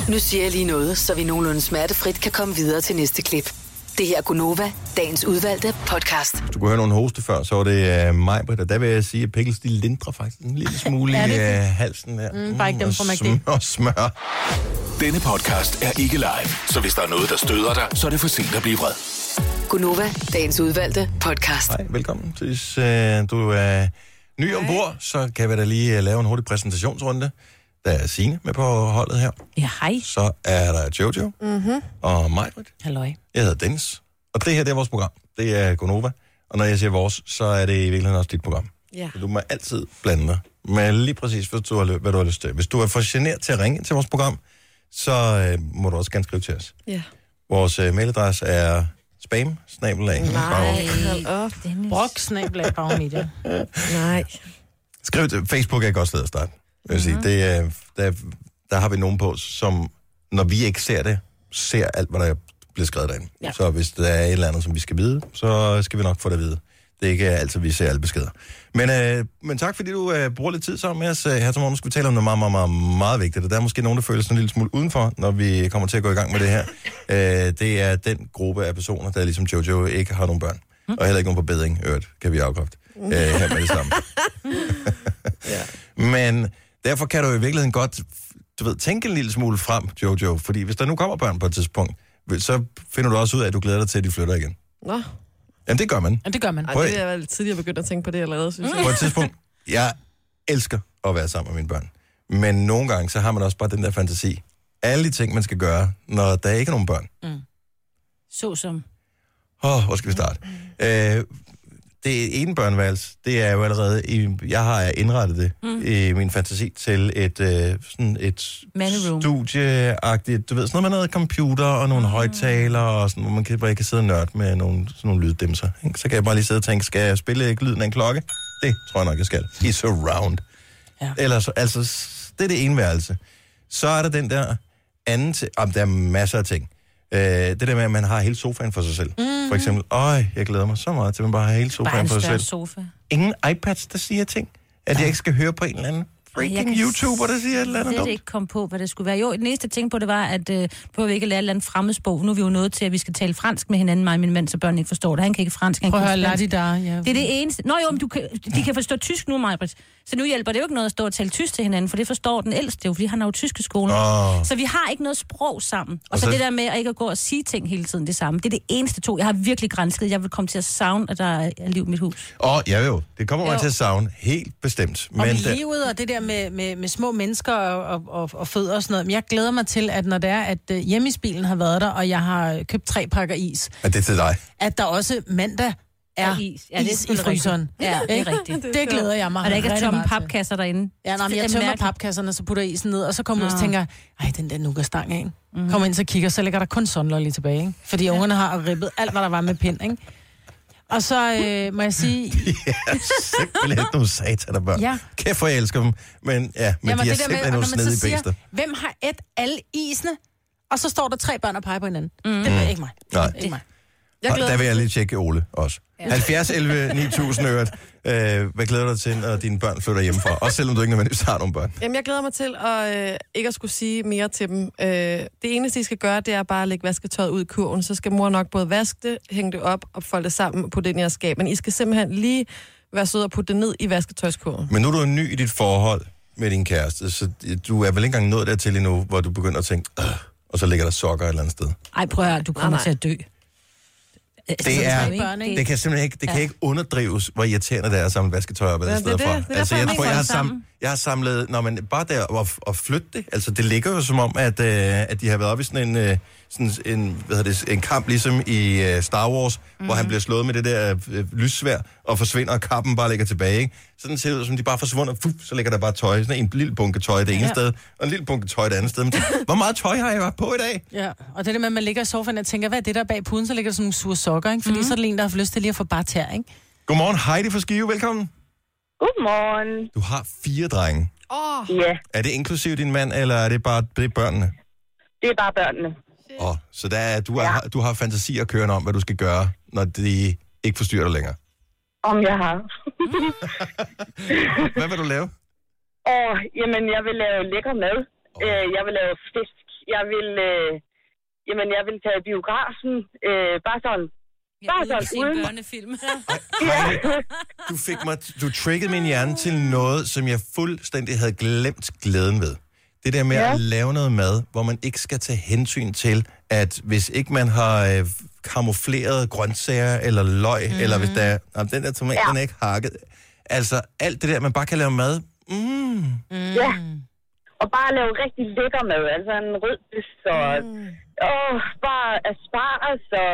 E: Nu siger jeg lige noget, så vi nogenlunde smertefrit kan komme videre til næste klip. Det her er Gunova, dagens udvalgte podcast.
A: Hvis du kunne høre nogen hoste før, så var det øh, mig, Britt, og der vil jeg sige, at pickles, de lindrer faktisk en lille smule
B: Er
A: i
B: det
A: øh,
B: det?
A: halsen der.
B: Mm, bare ikke dem
A: og
B: fra McD.
A: smør- Og smør.
F: Denne podcast er ikke live, så hvis der er noget, der støder dig, så er det for sent at blive vred.
E: Gunova, dagens udvalgte podcast.
A: Hej, velkommen. Hvis øh, du er ny ombord, så kan vi da lige øh, lave en hurtig præsentationsrunde. Der er Signe med på holdet her.
C: Ja, hej.
A: Så er der Jojo mm-hmm. og Majbrit.
B: Halløj.
A: Jeg hedder Dennis, og det her det er vores program. Det er Gonova, og når jeg siger vores, så er det i virkeligheden også dit program.
D: Ja.
A: Så du må altid blande dig med lige præcis, hvis du har, ly- hvad du har lyst til. Hvis du er for generet til at ringe til vores program, så øh, må du også gerne skrive til os.
D: Ja.
A: Vores øh, mailadresse er spam
D: Nej, hold op.
C: Dennis.
B: Brok, snablag, bagmedia.
D: Nej.
A: Skriv til Facebook er et godt sted at starte. Jeg vil sige, det er, der, der har vi nogen på, som når vi ikke ser det, ser alt, hvad der bliver skrevet derinde. Ja. Så hvis der er et eller andet, som vi skal vide, så skal vi nok få det at vide. Det er ikke altid, vi ser alle beskeder. Men, øh, men tak, fordi du øh, bruger lidt tid sammen med os. Øh, Her til morgen skal vi tale om noget meget, meget, meget, meget vigtigt. Og der er måske nogen, der føler sig en lille smule udenfor, når vi kommer til at gå i gang med det her. Øh, det er den gruppe af personer, der ligesom Jojo ikke har nogen børn. Og heller ikke nogen på bedring, øvrigt, kan vi afkræfte. Øh, her med det samme. Men derfor kan du i virkeligheden godt du ved, tænke en lille smule frem, Jojo. Fordi hvis der nu kommer børn på et tidspunkt, vil- så finder du også ud af, at du glæder dig til, at de flytter igen.
D: Nå.
A: Jamen, det gør man.
B: Ja, det gør man.
D: Ej,
A: Prøv-
D: det er jeg lidt tidligere begyndt at tænke på det allerede,
B: Mm.
D: synes jeg.
A: På et tidspunkt, jeg elsker at være sammen med mine børn. Men nogle gange, så har man også bare den der fantasi. Alle de ting, man skal gøre, når der ikke er nogen børn.
C: Såsom.
A: Åh, oh, hvor skal vi starte? Øh, det ene børneværelse, det er jo allerede... I, jeg har indrettet det mm. i min fantasi til et, øh, sådan et
C: Manderoom.
A: studieagtigt... Du ved, sådan noget med noget computer og nogle mm. højtalere, og sådan, hvor man kan, bare kan sidde og nørde med nogle, sådan nogle lyddimser. ikke? Så kan jeg bare lige sidde og tænke, skal jeg spille ikke lyden af en klokke? Det tror jeg nok, jeg skal. I surround.
B: Ja.
A: Ellers, altså, s- det er det ene værelse. Så er der den der anden... T- ah, der er masser af ting. Øh, det der med, at man har hele sofaen for sig selv. Mm-hmm. For eksempel, øj, jeg glæder mig så meget til, at man bare har hele
C: Bare
A: sofaen
C: en
A: for sig
C: større
A: selv.
C: sofa.
A: Ingen iPads, der siger ting. At jeg ikke skal høre på en eller anden
C: jeg
A: freaking
C: kan
A: YouTuber, der siger et eller andet
C: slet
A: dumt.
C: ikke komme på, hvad det skulle være. Jo, det næste ting på det var, at øh, prøver vi ikke at lære et eller andet fremmedsprog. Nu er vi jo nået til, at vi skal tale fransk med hinanden, mig og min mand, så børnene ikke forstår det. Han kan ikke fransk, han
B: Prøv at
C: kan
B: høre,
C: ikke
B: lad de
C: spansk.
B: der. Ja.
C: Det er det eneste. Nå jo, men du kan, de kan forstå tysk nu, Majbrit. Så nu hjælper det jo ikke noget at stå og tale tysk til hinanden, for det forstår den ældste jo, fordi han har jo tyske skole.
A: Åh.
C: Så vi har ikke noget sprog sammen. Og,
A: Og
C: og så,
A: så-
C: så, det der med at ikke at gå og sige ting hele tiden det samme, det er det eneste to. Jeg har virkelig grænsket. Jeg vil komme til at savne, at der er liv i mit hus.
A: Åh, ja jo, det kommer man
C: Jo.
A: til at savne, helt bestemt.
B: Og
A: Men
B: men
A: det,
B: livet og det der med, med, med små mennesker og, og, og, og fødder og sådan noget. Men jeg glæder mig til, at når det er, at øh, hjemmesbilen har været der, og jeg har købt tre pakker is,
A: er det til dig? (laughs)
B: at der også mandag er
C: Og
B: is,
C: Ja, det er
B: is i
C: selvfølgelig
B: fryseren.
C: rigtigt. Ja, det er rigtigt.
B: (laughs) Det glæder jeg mig.
C: Og der ikke er
B: rigtig
C: tomme
B: meget til.
C: papkasser derinde.
B: Ja, nej, men
C: Det er
B: jeg tømmer
C: mærkeligt.
B: papkasserne, så putter isen ned, og så kommer jeg ud og tænker, ej, den der nougatstang af.
C: Mhm.
B: Mm. Kommer ind, så kigger, så ligger der kun sunlolly tilbage, ikke? Fordi ungerne har ribbet alt, hvad der var med pind, ikke? Og så øh, må jeg sige,
A: Ja, simpelthen nogle sataner børn.
B: Ja.
A: Ja. Kæft, hvor jeg elsker dem. Men ja, men ja, de er simpelthen nogle
B: og når man
A: snedige
B: så siger,
A: bæster.
B: Hvem har et alle isene? Og så står der tre børn og peger på hinanden. Mm. Det er ikke mig.
A: Nej.
B: Det er ikke mig.
A: Jeg der vil jeg lige tjekke Ole også. Ja. 70, (laughs) 11, 9000 øret. Øh, hvad glæder du dig til, når dine børn flytter hjemmefra? Også selvom du ikke nødvendigvis har nogle børn.
D: Jamen, jeg glæder mig til at, øh, ikke at skulle sige mere til dem. Øh, det eneste, de skal gøre, det er bare at lægge vasketøjet ud i kurven. Så skal mor nok både vaske det, hænge det op og folde det sammen og putte det ind i jeres skab. Men I skal simpelthen lige være søde og putte det ned i vasketøjskurven.
A: Men nu er du jo ny i dit forhold med din kæreste, så du er vel ikke engang nået dertil endnu, hvor du begynder at tænke, "Åh," og så ligger der sokker et eller andet sted.
C: Ej, prøv at høre, du kommer
D: Nej, nej.
C: til at dø. Altså,
A: Det, er,
C: børn, ikke?
A: det kan simpelthen ikke, det kan ikke underdrives, hvor irriterende det er at samle vasketøj op
D: Ja,
A: alle
D: det
A: steder
D: er det.
A: fra.
D: Det er
A: Altså,
D: derfor,
A: jeg
D: man
A: tror,
D: ikke
A: jeg har,
D: får det
A: sam, jeg har samlet... Nå, men bare der og, og flytte det. Altså, det ligger jo som om, at, øh, at de har været oppe i sådan en, øh, sådan en, hvad hedder det, en kamp, ligesom i øh, Star Wars, mm-hmm. hvor
D: Mhm.
A: han bliver slået med det der øh, lyssvær og forsvinder, og kappen bare ligger tilbage. Ikke? Sådan ser det ud, som de bare forsvunder. Fuh, så ligger der bare tøj. Sådan en lille bunke tøj det ene
B: Ja.
A: sted, og en lille bunke tøj det andet sted.
D: (laughs)
A: Men tænk, hvor meget tøj har jeg haft på i dag?
B: Ja, og det er det med, at man ligger i sofaen og tænker, hvad er det der er bag puden? Så ligger der sådan nogle sure sokker, ikke? Fordi mm. så er det en, der har haft lyst til lige at få bare tær, ikke?
A: Godmorgen, Heidi fra Skive. Velkommen.
J: Godmorgen.
A: Du har fire drenge.
D: Åh, oh,
J: Ja,
A: Er det inklusive din mand, eller er det bare det er børnene?
J: det er bare børnene.
A: Åh, oh, så der er, du, er, ja. du har fantasier kørende om, hvad du skal gøre, når de ikke forstyrrer dig længere.
J: Om jeg har. (laughs)
A: Hvad vil du (laughs) lave?
J: Og jamen, jeg vil lave lækker mad. Øh, jeg vil lave fisk. Jeg vil, øh, jamen, jeg vil tage i biografen. Øh, bare sådan.
C: Jeg
J: Bare
C: ved, at
J: sådan
C: se en
J: uden.
C: børnefilm.
A: Heidi, du, fik mig, du triggede min hjerne til noget, som jeg fuldstændig havde glemt glæden ved. Det der med ja.
J: Ja.
A: at lave noget mad, hvor man ikke skal tage hensyn til, at hvis ikke man har øh, kamufleret grøntsager eller løg, mm. eller hvis der er, "Nå, den der tomat, ja. den er ikke hakket. Altså, alt det der, man bare kan lave mad. Mm.
J: Ja. Og bare lave rigtig lækker mad. Altså en rød fisk og... Mm. Og bare asparges og...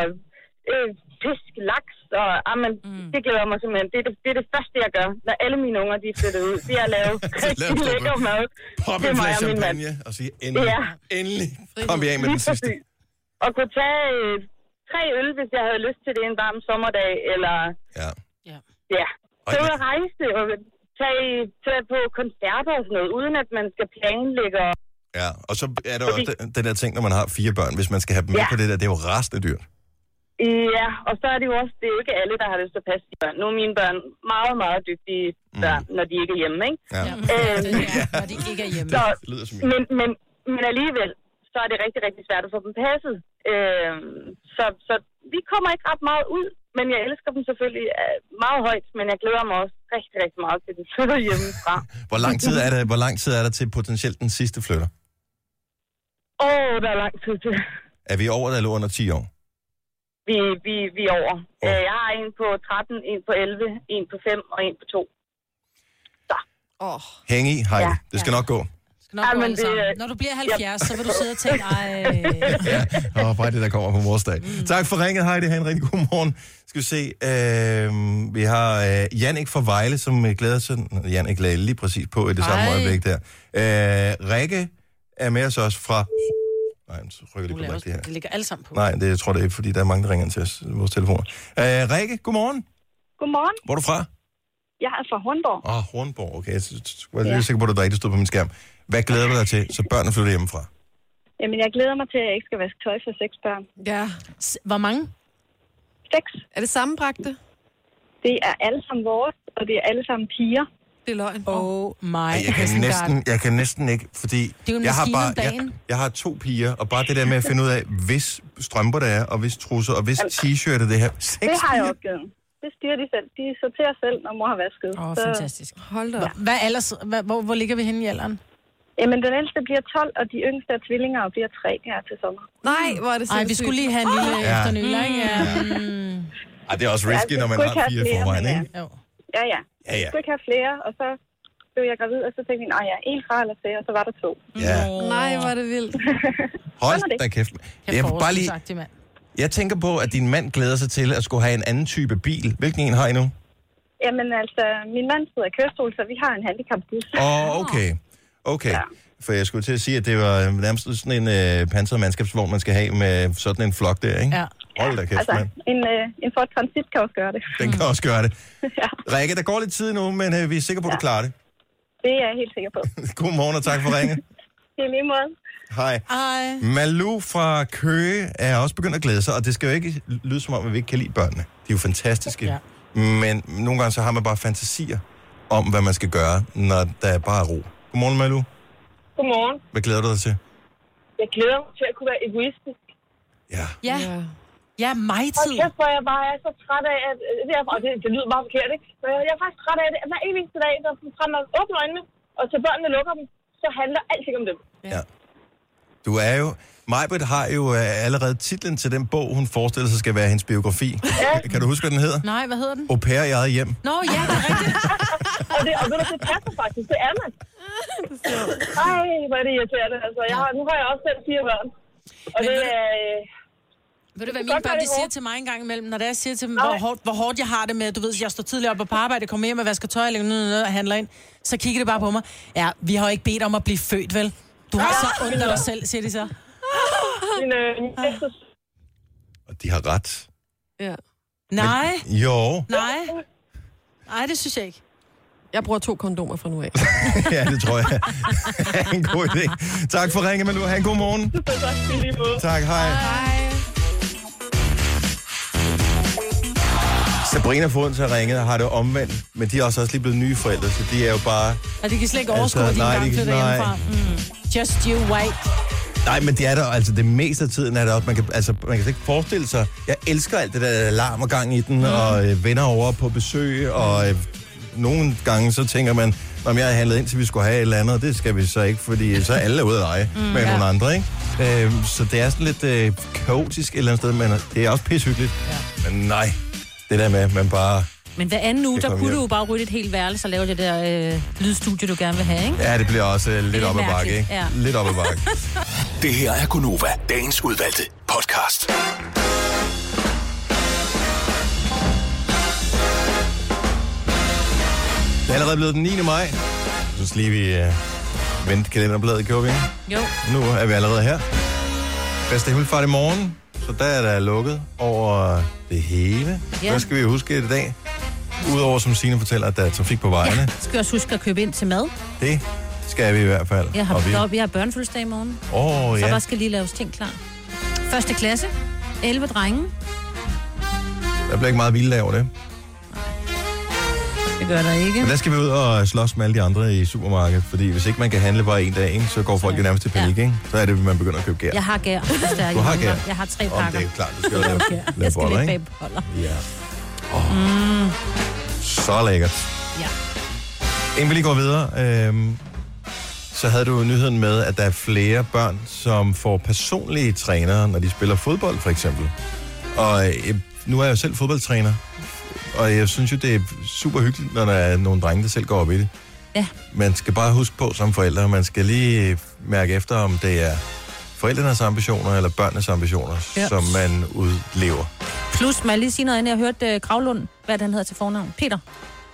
J: Øh, fisk, laks og... Amen, mm. det glæder mig simpelthen. Det er det, det er det første, jeg gør, når alle mine unger de er flyttet ud. Det er at
A: (laughs)
J: lave rigtig
A: laver du.
J: lækker mad.
A: Pop
J: Det
A: en
J: er mig
A: flaske
J: og min mand.
A: champagne og sige, endelig, ja. endelig kom jeg af med den
J: Lige
A: sidste.
J: præcis. Og kunne tage øh, tre øl, hvis jeg havde lyst til det en varm sommerdag, eller
A: Ja.
J: ja,
A: Ej,
J: så ud
A: men-
J: at rejse og tage, tage på koncerter og sådan noget, uden at man skal planlægge. og-
A: Ja, og så er der jo også den- den der ting, når man har fire børn, hvis man skal have dem med
J: Ja.
A: på det der, det er jo rasende dyrt.
J: Ja, og så er det jo også, det er jo ikke alle, der har lyst til at passe de børn. Nu er mine børn meget, meget dygtige børn, mm. når de ikke er hjemme,
A: (laughs)
J: ikke?
A: Ja.
B: Ja.
J: Øhm,
B: Det er, når de ikke er hjemme.
J: så,
A: Det lyder som en.
J: men, men, men alligevel, så er det rigtig, rigtig svært at få dem passet. Øhm, så, så vi kommer ikke ret meget ud, men jeg elsker dem selvfølgelig øh, meget højt, men jeg glæder mig også rigtig, rigtig meget til, at de flytter
A: (laughs)
J: hjemmefra.
A: Hvor lang tid er der, hvor lang tid er der til potentielt den sidste flytter?
J: Åh, oh, der er lang tid til.
A: Er vi over eller under 10 år?
J: Vi, vi, vi er over. Øh, jeg har en på 13, en på 11, en på 5 og en på 2.
D: åh. Oh.
A: Hæng i, Heidi.
J: Ja.
A: Det skal nok gå.
B: Skal nok
J: Ej,
B: gå
J: men
B: alle
J: det-
B: sammen. Når du bliver 70, så vil du sidde og tænke, ej...
A: Ja, og bare det, der kommer på morsdag. Mm. Tak for ringet, Heidi. Ha' en rigtig god morgen. Skal vi se, øh, vi har øh, Jannik fra Vejle, som øh, glæder sig. Nå, Jannik lagde lige præcis på i det samme
B: Ej.
A: øjeblik der. Øh, Rikke er med os også fra... Nej, så rykker de
B: Du
A: på
B: laver
A: mig, det her.
B: også, det ligger alle sammen på.
A: Nej, det jeg tror det ikke, fordi der er mange, der ringer ind til os, vores telefoner. Øh, Rikke, godmorgen.
J: Godmorgen.
A: Hvor er du fra?
J: Jeg er fra Hornborg.
A: Åh, oh, Hornborg. Okay, jeg synes- jeg var lige sikker på, at der ikke stod på min skærm. Hvad glæder du dig til, så børnene flytter hjemmefra?
J: Jamen, jeg glæder mig til, at jeg ikke skal vaske tøj for seks børn.
D: Ja.
B: S- Hvor mange?
J: Seks.
D: Er det sammenbragte?
J: Det er alle sammen vores, og det er alle sammen piger.
D: Det er løgn.
B: Oh my
A: Ej, jeg, kan
B: Hesselgaard.
A: næsten, jeg kan næsten ikke, fordi
B: er jo en
A: jeg, har
B: maskine
A: bare, jeg,
B: om dagen.
A: jeg har to piger, og bare det der med at finde ud af, hvis strømper der er, og hvis trusser, og hvis t-shirt er det her. Seks
J: Altså, Det har jeg
A: piger?
J: opgivet. Det styrer de selv. De sorterer selv, når mor har vasket.
B: Åh, oh, fantastisk.
D: Hold da op.
B: Hvad ellers, hvad, hvor, hvor ligger vi henne i alderen?
J: Jamen, den ældste bliver 12, og de yngste er tvillinger og bliver 3 her til sommer.
D: Nej, hvor er det
B: Ej, vi skulle lige have en lille
A: Ja.
B: efternøller, ikke? Ja. Mm.
A: Ej, det er også risky,
J: Ja,
A: når man
J: det
A: har
J: kunne
A: fire
J: ikke
A: i
J: have
A: forvejen,
J: flere,
A: ikke?
B: Jo.
J: Ja, ja.
A: Ja, ja.
J: Jeg skulle ikke have flere, og så blev jeg gravid, og så tænkte jeg, nej, ja, en fra eller flere, og så var der to. Mm.
A: ja.
D: Nej, hvor er det vildt.
A: Hold da kæft. Jeg, vil bare lige,
B: Sagt, mand.
A: jeg tænker på, at din mand glæder sig til at skulle have en anden type bil. Hvilken en har I nu?
J: Jamen altså, min mand sidder i kørestol, så vi har en handicapbus.
A: Åh, oh, okay. Okay. Ja. For jeg skulle til at sige, at det var øh, nærmest sådan en øh, pansret mandskabsvogn, man skal have med sådan en flok der, ikke?
B: Ja.
A: Hold da kæft,
K: altså,
A: mand.
K: en, øh, en Ford Transit kan også
J: (laughs)
K: gøre det.
A: Den kan også gøre det. Rikke, der går lidt tid nu, men øh, vi er sikre på, at du klarer det. (laughs)
K: Det er jeg helt sikker på.
A: God morgen og tak for ringen.
K: I lige måde.
A: Hej.
B: Hej.
A: Malu fra Køge er også begyndt at glæde sig, og det skal jo ikke lyde som om, at vi ikke kan lide børnene. De er jo fantastiske.
B: Ja.
A: Men nogle gange så har man bare fantasier om, hvad man skal gøre, når der er bare ro. Godmorgen, Malu.
L: Godmorgen.
A: Hvad glæder du dig til?
L: Jeg glæder mig til at kunne være egoistisk.
A: Ja.
B: Ja. Ja, mig
L: tid. Og kæft, hvor jeg bare er så træt af, at... Det, er, og det, det lyder meget forkert, ikke? Men jeg, jeg er faktisk træt af det. at Hver eneste dag, når fra man åbner øjnene, og til børnene lukker dem, så handler alting om dem.
A: Du er jo... Majbrit har jo øh, allerede titlen til den bog, hun forestiller sig skal være hendes biografi.
L: Ja.
A: Kan du huske, hvad den hedder?
B: Nej, hvad hedder den?
A: Au pair i eget hjem.
B: Nå, ja, det er rigtigt.
L: og, det, og ved du, det passer faktisk. Det
B: (laughs)
L: er man. Ej, hvor er det irriterende. Altså, jeg har, nu har jeg også selv fire børn. Og
B: Men
L: det
B: ved du-
L: er... øh,
B: (laughs) Ved du,
L: Det
B: hvad mine
L: kan godt
B: børn
L: være,
B: de
L: det er
B: siger
L: hårdt.
B: til mig en gang imellem, når det er, jeg siger til dem,
L: Nej.
B: hvor hårdt, hvor hårdt jeg har det med, du ved, jeg står tidligere op på arbejde, kommer hjem og vasker tøj, eller noget, noget, og handler ind, så kigger det bare på mig. Ja, vi har jo ikke bedt om at blive født, vel? Du har så ondt af dig selv, siger de så.
L: Min, øh, min bedste...
A: Og de har ret.
D: Ja.
B: Nej,
A: Jo.
B: nej. Nej, det synes jeg ikke.
D: Jeg bruger to kondomer fra
B: (laughs)
D: nu af.
A: (laughs) ja, det tror jeg er en god idé. Tak for ringen, Malu. Ha' en god morgen. Tak, hej. Sabrina Foden har ringet og har det omvendt, men de er også også lige blevet nye forældre, så de er jo bare...
B: Og de kan slet ikke overskue,
A: Altså,
B: altså,
A: nej,
B: at
A: de
B: de engang
A: kan-
B: flytter
A: nej.
B: hjemmefra. Mm. Just you wait.
A: Nej, men det er der, altså det meste af tiden er der også, man kan, altså, man kan slet ikke forestille sig, jeg elsker alt det der alarm og gang i den, mm. og øh, venner over på besøg, og øh, nogle gange så tænker man, om jeg havde handlet ind, til vi skulle have et eller andet, og det skal vi så ikke, fordi så er alle er ude at lege mm,
M: Mm,
A: med
M: ja.
A: ja. nogle andre, ikke? Øh, så det er sådan lidt øh, kaotisk et eller andet sted, men øh, det er også pishyggeligt. Ja. Men nej, det der med, at man bare...
C: Men hver anden uge,
A: Skal
C: der
A: komme
C: kunne
A: hjem.
C: du jo bare rydde et helt værelse og lave det der øh, lydstudie, du gerne vil have, ikke?
A: Ja, det bliver også øh, lidt
C: er
A: op ad bakke,
C: mærkeligt,
A: ikke?
C: ja.
A: Lidt op ad bakke.
F: Det her er Gunova, dagens udvalgte podcast.
A: Det er allerede blevet den 9. maj. Jeg synes lige, vi øh, vendte kalenderbladet, gjorde vi ikke?
C: Jo.
A: Nu er vi allerede her. Fast himmelfart i morgen, så der er der lukket over det hele.
C: Ja.
A: Ja. Der skal vi huske i dag. Udover som Signe fortæller, at der er trafik på vejene.
C: Ja,
A: Ja.
C: skal jeg også huske at købe ind til mad.
A: Det skal vi i hvert fald.
C: Jeg har,
A: Og vi...
C: vi... jeg har børnefødselsdag i morgen.
A: Åh,
C: Så
A: ja.
C: der skal lige laves ting klar. Første klasse. 11 drenge.
A: Der bliver ikke meget vildt over det.
C: Det gør der ikke.
A: Men der skal vi ud og slås med alle de andre i supermarkedet, fordi hvis ikke man kan handle bare en dag, ikke, så går folk jo nærmest til panik, ikke? Så er det, man begynder at købe gær.
C: Jeg har gær. hvis der er,
A: Du har
C: jeg mangler.
A: gær?
C: Jeg har tre
A: Om,
C: pakker.
A: det er klart, du skal lave-
C: Jeg har
A: lave
C: gær. Jeg skal
A: boller,
C: lægge
A: ikke?
C: bag boller.
A: Ja.
C: Mm,
A: Så lækkert.
C: ja.
A: Inden vi lige går videre, øhm, så havde du nyheden med, at der er flere børn, som får personlige trænere, når de spiller fodbold, for eksempel. Og øh, nu er jeg jo selv fodboldtræner, og jeg synes jo, det er super hyggeligt, når der er nogle drenge, der selv går op i det.
C: Ja.
A: Man skal bare huske på som forældre, man skal lige mærke efter, om det er forældrenes ambitioner eller børnenes ambitioner,
C: Ja.
A: ja. som man udlever.
C: Plus, må jeg lige sige noget andet. Jeg hørte uh, Gravlund, hvad er det, han hedder til fornavn. Peter.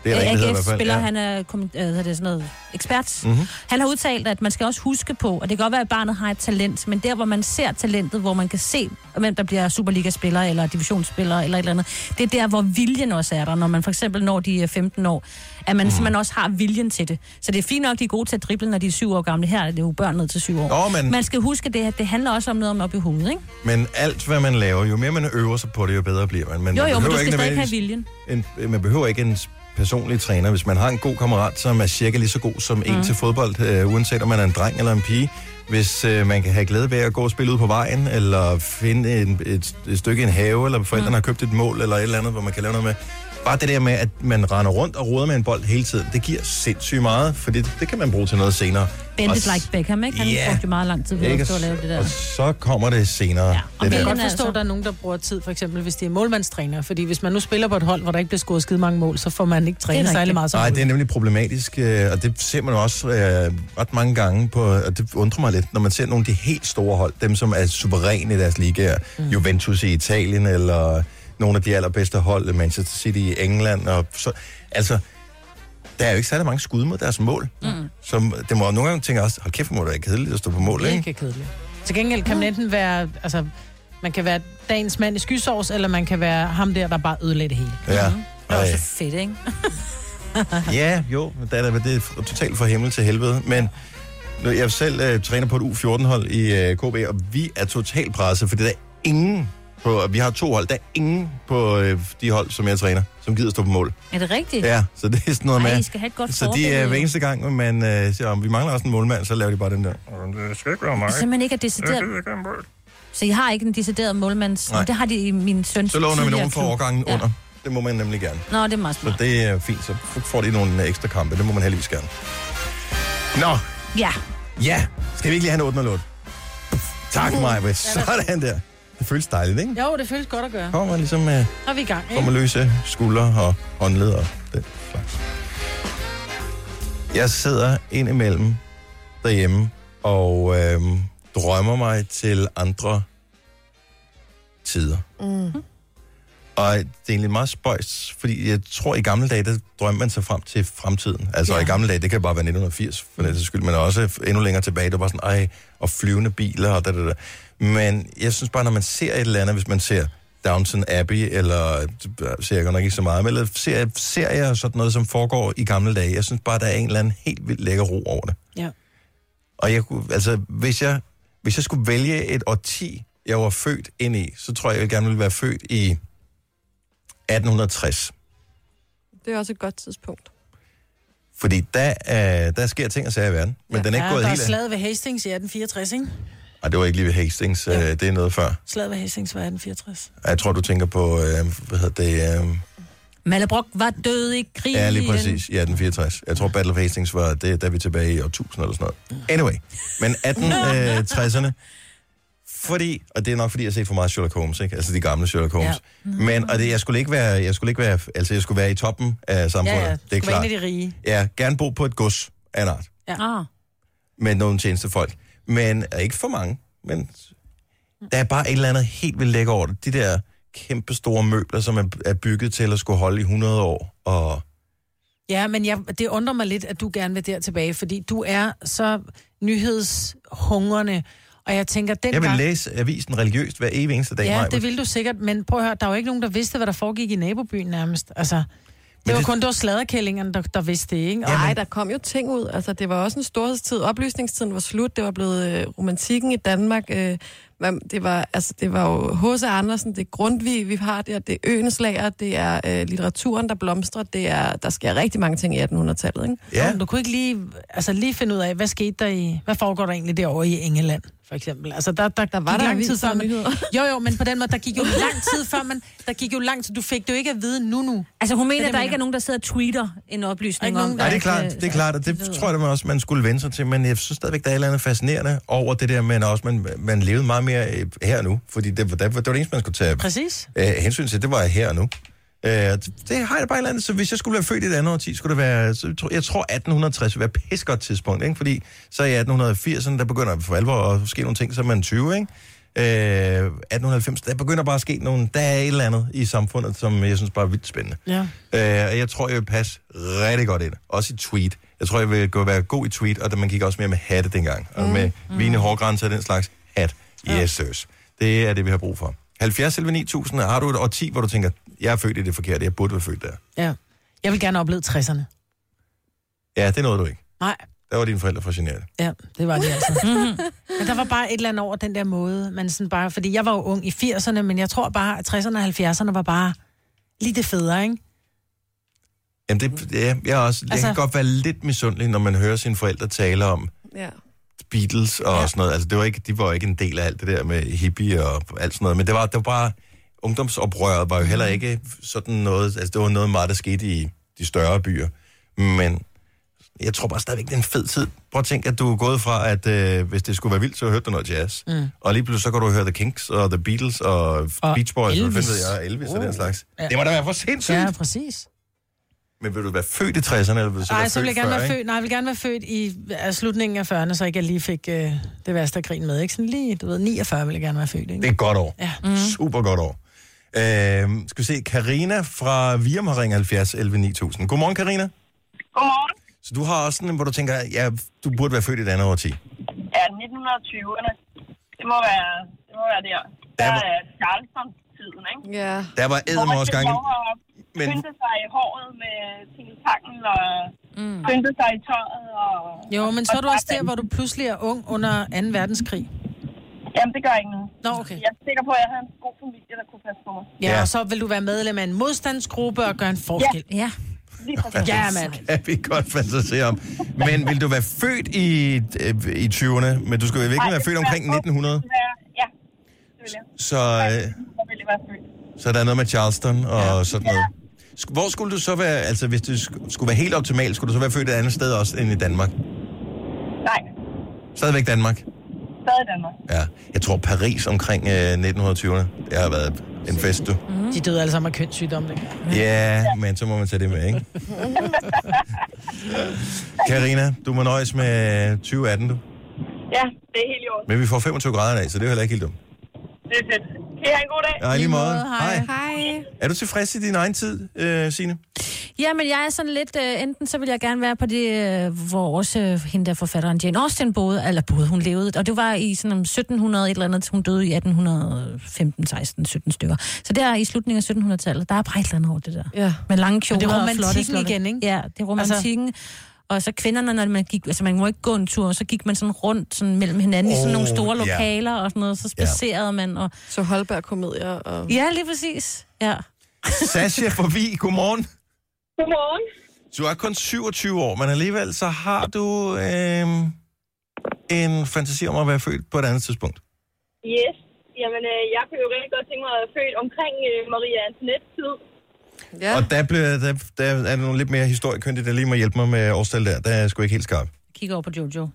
A: Det er der en, der hedder i hvert fald,
C: AGF-spiller,
A: ja.
C: han er, kom, øh, hvad hedder det, sådan noget, ekspert.
A: Mhm.
C: Han har udtalt, at man skal også huske på, og det kan godt være, at barnet har et talent, men der, hvor man ser talentet, hvor man kan se, hvem der bliver Superliga-spiller eller divisionsspiller eller et eller andet, det er der, hvor viljen også er der, når man for eksempel når de er 15 år, at
A: Mhm.
C: man mm. simpelthen også har viljen til det. Så det er fint nok, de er gode til at drible, når de er 7 år gamle. Her er det jo børn ned til 7 år.
A: Nå, men-
C: Man skal huske, det, at det handler også om noget om op i hovedet, ikke?
A: Men alt, hvad man laver, jo mere man øver sig på det, jo bedre bliver man. man
C: jo, jo,
A: behøver
C: men du skal stadig
A: nødvendigvis-
C: have viljen.
A: en, man behøver ikke en s- personlig træner. Hvis man har en god kammerat, som er cirka lige så god som en
C: Mm.
A: til fodbold, øh, uanset om man er en dreng eller en pige, hvis øh, man kan have glæde ved at gå og spille ud på vejen, eller finde en, et, et stykke i en have, eller forældrene mm. har købt et mål, eller et eller andet, hvor man kan lave noget med. Bare det der med, at man render rundt og roder med en bold hele tiden, det giver sindssygt meget, for det, det kan man bruge til noget senere.
C: Bend
A: Og
C: it
A: s-
C: like Beckham, ikke? Han
A: Ja.
C: yeah. brugte jo meget lang tid ved
A: Ikke?
C: at stå og lave det der.
A: Og så kommer det altså- senere. Ja,
B: Og man kan godt forstå, at der er nogen, der bruger tid, for eksempel, hvis de er målmandstræner. Fordi hvis man nu spiller på et hold, hvor der ikke bliver scoret skide mange mål, så får man ikke trænet særlig meget som
A: Nej,
B: mål.
A: det er nemlig problematisk, øh, og det ser man også øh, ret mange gange på, og det undrer mig lidt, når man ser nogle af de helt store hold, dem som er suveræne i deres ligaer, mm. Juventus i Italien, eller nogle af de allerbedste hold, Manchester City i England, og så, altså, der er jo ikke særlig mange skud mod deres mål, mm. som det må nogle gange tænke også, hold kæft, hvor må det være kedeligt at stå på mål,
B: Det er
A: ikke?
B: ikke kedeligt. Til gengæld kan man enten være altså, Man kan være dagens mand i skysovs, eller man kan være ham der, der bare ødelægger det hele.
A: Ja.
C: Mm. Det er
A: Ej.
C: også fedt, ikke?
A: Ja, jo, men det er, da- det er f- totalt fra himmel til helvede, men nu, jeg selv øh, træner på et U14-hold i øh, KB, og vi er totalt presset, for det er ingen på, vi har to hold, der er ingen på øh, de hold, som jeg træner, som gider stå på mål.
C: Er det rigtigt?
A: Ja, så det er sådan noget
C: Ej,
A: med...
C: I skal have et godt
A: så de
C: forbillede,
A: er
C: jo.
A: hver eneste gang, man øh, siger, om vi mangler også en målmand, så laver de bare den der. Det skal ikke være mig.
C: Simpelthen ikke er decideret... Så I har ikke en decideret målmands...
A: Nej.
C: Nej. Det har de i min søns
A: Så låner vi
C: tidligere
A: nogen fra
C: klub.
A: årgangen ja. under. Det må man nemlig gerne.
C: Nå, det er meget
A: Så
C: smart.
A: det er fint, så får de nogle øh, ekstra kampe. Det må man heldigvis gerne. Nå,
C: Ja.
A: Ja, skal vi ikke lige have en 808? Tak, Maja. Sådan der. Det føles dejligt, ikke?
B: Jo, det føles godt at gøre.
A: Kommer ligesom med
B: Så er vi i gang, ikke?
A: kommer løse skuldre og håndled og den slags. Jeg sidder indimellem derhjemme og øhm, drømmer mig til andre tider.
M: Mm.
A: Og det er egentlig meget spøjs, fordi jeg tror, i gamle dage, der drømte man sig frem til fremtiden. Altså ja. i gamle dage, det kan bare være 1980, for den sags skyld, men også endnu længere tilbage, det var bare sådan, ej, og flyvende biler og da, da, da. Men jeg synes bare, når man ser et eller andet, hvis man ser Downton Abbey, eller det ser jeg godt nok ikke så meget, men eller ser, ser jeg sådan noget, som foregår i gamle dage, jeg synes bare, der er en eller anden helt vildt lækker ro over det.
B: Ja.
A: Og jeg kunne, altså, hvis jeg, hvis jeg skulle vælge et årti, jeg var født ind i, så tror jeg, jeg gerne ville være født i 1860.
D: Det er også et godt tidspunkt.
A: Fordi der, øh, der sker ting og sager i verden. Men ja, den er ikke
B: ja,
A: gået
B: der
A: helt
B: er
A: af.
B: slaget ved Hastings i 1864, ikke?
A: Ej, det var ikke lige ved Hastings. Ja. Det er noget før.
B: Slaget ved Hastings var 1864.
A: Ej, Jeg tror, du tænker på, øh, hvad hedder det? Øh,
C: Mallebrok var død i krigen.
A: ja, lige præcis. I 1864. Jeg tror, Battle of Hastings var det, der vi tilbage i år 1000 eller sådan noget. Anyway. Men
B: (laughs)
A: 1860'erne. Fordi, og det er nok fordi, jeg har set for meget Sherlock Holmes, ikke? Altså de gamle Sherlock Holmes.
B: Mm.
A: Ja. Men, og det, jeg skulle ikke være, jeg skulle ikke være, altså jeg skulle være i toppen af samfundet.
B: ja, ja.
A: det er klart.
B: Det er de rige.
A: Ja, gerne bo på et gods af en art.
B: Ja. Ah.
A: med nogle tjenestefolk. Men øh, ikke for mange, men der er bare et eller andet helt vildt lækker over det. De der kæmpe store møbler, som er, er bygget til at skulle holde i 100 år. Og
B: Ja, men jeg, det undrer mig lidt, at du gerne vil der tilbage, fordi du er så nyhedshungerne, og jeg tænker, den
A: jeg vil
B: gang...
A: læse avisen religiøst hver evig eneste dag.
B: ja,
A: Maja.
B: det vil du sikkert, men prøv at høre, der var ikke nogen, der vidste, hvad der foregik i nabobyen nærmest. Altså, det
A: Men
B: var
A: det-
B: kun, det var sladderkællingerne, der, der vidste det, ikke?
D: Nej, Jamen... der kom jo ting ud. Altså, det var også en storhedstid. Oplysningstiden var slut. Det var blevet øh, romantikken i Danmark. Øh, man, det, var, altså, det var jo H.C. Andersen, det er Grundtvig, vi har der, det er øens lager, det er øh, litteraturen, der blomstrer, det er, der sker rigtig mange ting i 1800-tallet, ikke?
A: Ja.
B: Du kunne ikke lige, altså lige finde ud af, hvad skete der i, hvad foregår der egentlig derovre i England, for eksempel. Altså der, der, der
D: var der
B: lang
D: vildt
B: tid før,
D: mange
B: man, (laughs) jo jo, men på den måde, der gik jo lang tid før, man, der gik jo lang tid, du fik det jo ikke at vide nu nu.
C: Altså hun mener, at der ikke er nogen, der sidder og tweeter en oplysning om...
A: Nej, det er klart, det er klart, og det tror jeg, man også man skulle vende sig til, men jeg synes stadigvæk, der er et eller andet fascinerende over det der, men også, man, man levede meget mere øh, her og nu, fordi det, var- det, var det var det eneste, man skulle tage
B: Præcis.
A: øh, hensyn til, det var her og nu. Øh, det det har jeg da bare et eller andet, så hvis jeg skulle være født i et andet årti, skulle det være, så tror, jeg tror 1860 ville være et godt tidspunkt, ikke? fordi så i 1880'erne, der begynder for alvor at ske nogle ting, så er man 20, ikke? Øh, 1890, der begynder bare at ske nogle, der er et eller andet i samfundet, som jeg synes bare er vildt spændende.
B: Ja.
A: Øh, og jeg tror, jeg vil passe rigtig godt ind. Også i tweet. Jeg tror, jeg vil gå være god i tweet, og da man gik også mere med hatte dengang. Og med mm. vine hårgrænser og den slags hat. Yes, sirs. Det er det, vi har brug for. 70 selv 9000, har du et årti, hvor du tænker, jeg er født i det forkerte, jeg burde være født der.
B: Ja. Jeg vil gerne opleve 60'erne.
A: Ja, det nåede du ikke.
B: Nej.
A: Der var dine forældre for generet.
B: Ja, det var det (laughs) altså. men der var bare et eller andet over den der måde, man sådan bare, fordi jeg var jo ung i 80'erne, men jeg tror bare, at 60'erne og 70'erne var bare lige det federe, ikke?
A: Jamen, det, ja, jeg, er også, altså...
B: Altså-
A: jeg kan godt være lidt misundelig, når man hører sine forældre tale om
D: Ja.
A: Beatles og ja. sådan noget. Altså, det var ikke, de var jo ikke en del af alt det der med hippie og alt sådan noget. Men det var, det var bare... Ungdomsoprøret var jo
B: Mm.
A: heller ikke sådan noget... Altså, det var noget meget, der skete i de større byer. Men jeg tror bare stadigvæk, det er en fed tid. Prøv at tænke, at du er gået fra, at øh, hvis det skulle være vildt, så hørte du noget jazz. Mm. Og lige pludselig så kan du høre The Kinks og The Beatles og, og Beach Boys og, hvad
B: Elvis. Uh.
A: ved jeg, Elvis oh. og den slags.
B: Ja.
A: Ja. Det må da være for sindssygt.
B: Ja,
A: Ja.
B: præcis.
A: Men vil du være født i 60'erne, eller vil du så
B: Nej,
A: være
B: så vil jeg
A: født
B: gerne
A: før,
B: være
A: ikke?
B: født, nej, jeg vil gerne være født i af slutningen af 40'erne, så ikke jeg lige fik øh, det værste af krigen med, ikke? Sådan lige, du ved, 49 vil jeg gerne være født, ikke?
A: Det er et godt år.
B: Ja.
A: Mm. Super godt år. Øh, skal vi se, Karina fra Virum har ringet 70 11 9000. Godmorgen, Karina.
N: Godmorgen.
A: Så du har også sådan en, hvor du tænker, ja, du burde være født i et andet årti.
N: Ja, 1920'erne. Det må være, det
J: noget af det her. Der er Charleston-tiden, ikke?
I: Ja.
A: Der var eddermame også gang- (laughs)
J: Men...
A: Men-
J: Pynte sig i håret med tingetangen og mm. pynte sig i tøjet. Og,
B: Jo, men så er du også der, hvor du pludselig er ung under 2. verdenskrig.
J: Jamen, det gør ikke noget.
B: Nå, okay.
J: Jeg er sikker på, at jeg havde en god familie, der kunne passe på mig.
B: Ja, ja, og så vil du være medlem af en modstandsgruppe og gøre en forskel.
C: Ja. ja.
J: Lige præcis.
B: Ja, mand.
A: Kan vi godt fantasere om. Men vil du være født i, øh, i 20'erne, men du skal jo virkelig være født omkring 1900,
J: Ja, det vil jeg.
A: så, øh,
J: Så vil jeg være født.
A: så der er noget med Charleston og sådan noget. Sk- Hvor skulle du så være, altså hvis det sk- skulle være helt optimalt, skulle du så være født et andet sted også end i Danmark?
J: Nej,
A: Stadigvæk Danmark?
J: stadig Danmark.
A: Ja. Jeg tror Paris omkring øh, 1920'erne, det har været en fest, du.
B: Mm. De døde alle sammen af kønssygdomme. ikke?
A: Ja, men så må man tage det med, ikke? Karina, du må nøjes med 2018, du.
J: Ja, det er helt i orden.
A: Men vi får 25 grader i dag, så det er jo heller ikke helt dumt.
J: Det er fedt. Kan I have en god dag?
A: Ja, i lige måde. Hej.
C: Hej.
A: Er du tilfreds i din egen tid, øh, (laughs) Signe?
C: Ja, men jeg er sådan lidt, øh, enten så vil jeg gerne være på det, øh, hvor også øh, hende der forfatteren Jane Austen boede, eller boede, hun levede, og det var i sådan om 1700 et eller andet, til hun døde i 1815, 16, 17 stykker. Så der i slutningen af 1700-tallet, der er bare et eller andet over det der.
I: Ja.
C: Med lange kjoler
B: Men det er
C: og flotte
B: romantikken
C: slotte.
B: igen, ikke?
C: Ja, det er romantikken. Altså... Og så kvinderne, når man gik, altså man må ikke gå en tur, så gik man sådan rundt sådan mellem hinanden oh, i sådan nogle
I: Åh,
C: store
I: ja.
C: lokaler og sådan noget, så
I: Ja.
C: spacerede man. Og...
I: Så Holberg-komedier og...
C: Ja, lige præcis. Ja.
A: Sasha forbi, godmorgen.
J: Godmorgen.
A: Du er kun 27 år, men alligevel så har du øh, en fantasi om at være født på et andet tidspunkt.
J: Yes. Jamen, øh, jeg kunne jo rigtig godt tænke mig at være født omkring øh, Maria Antoinette-tid.
I: Ja.
A: Og der, bliver, der, der er nogle lidt mere historiekyndige, der lige må hjælpe mig med årstal der. Der er jeg sgu ikke helt skarp.
C: Kig over på Jojo.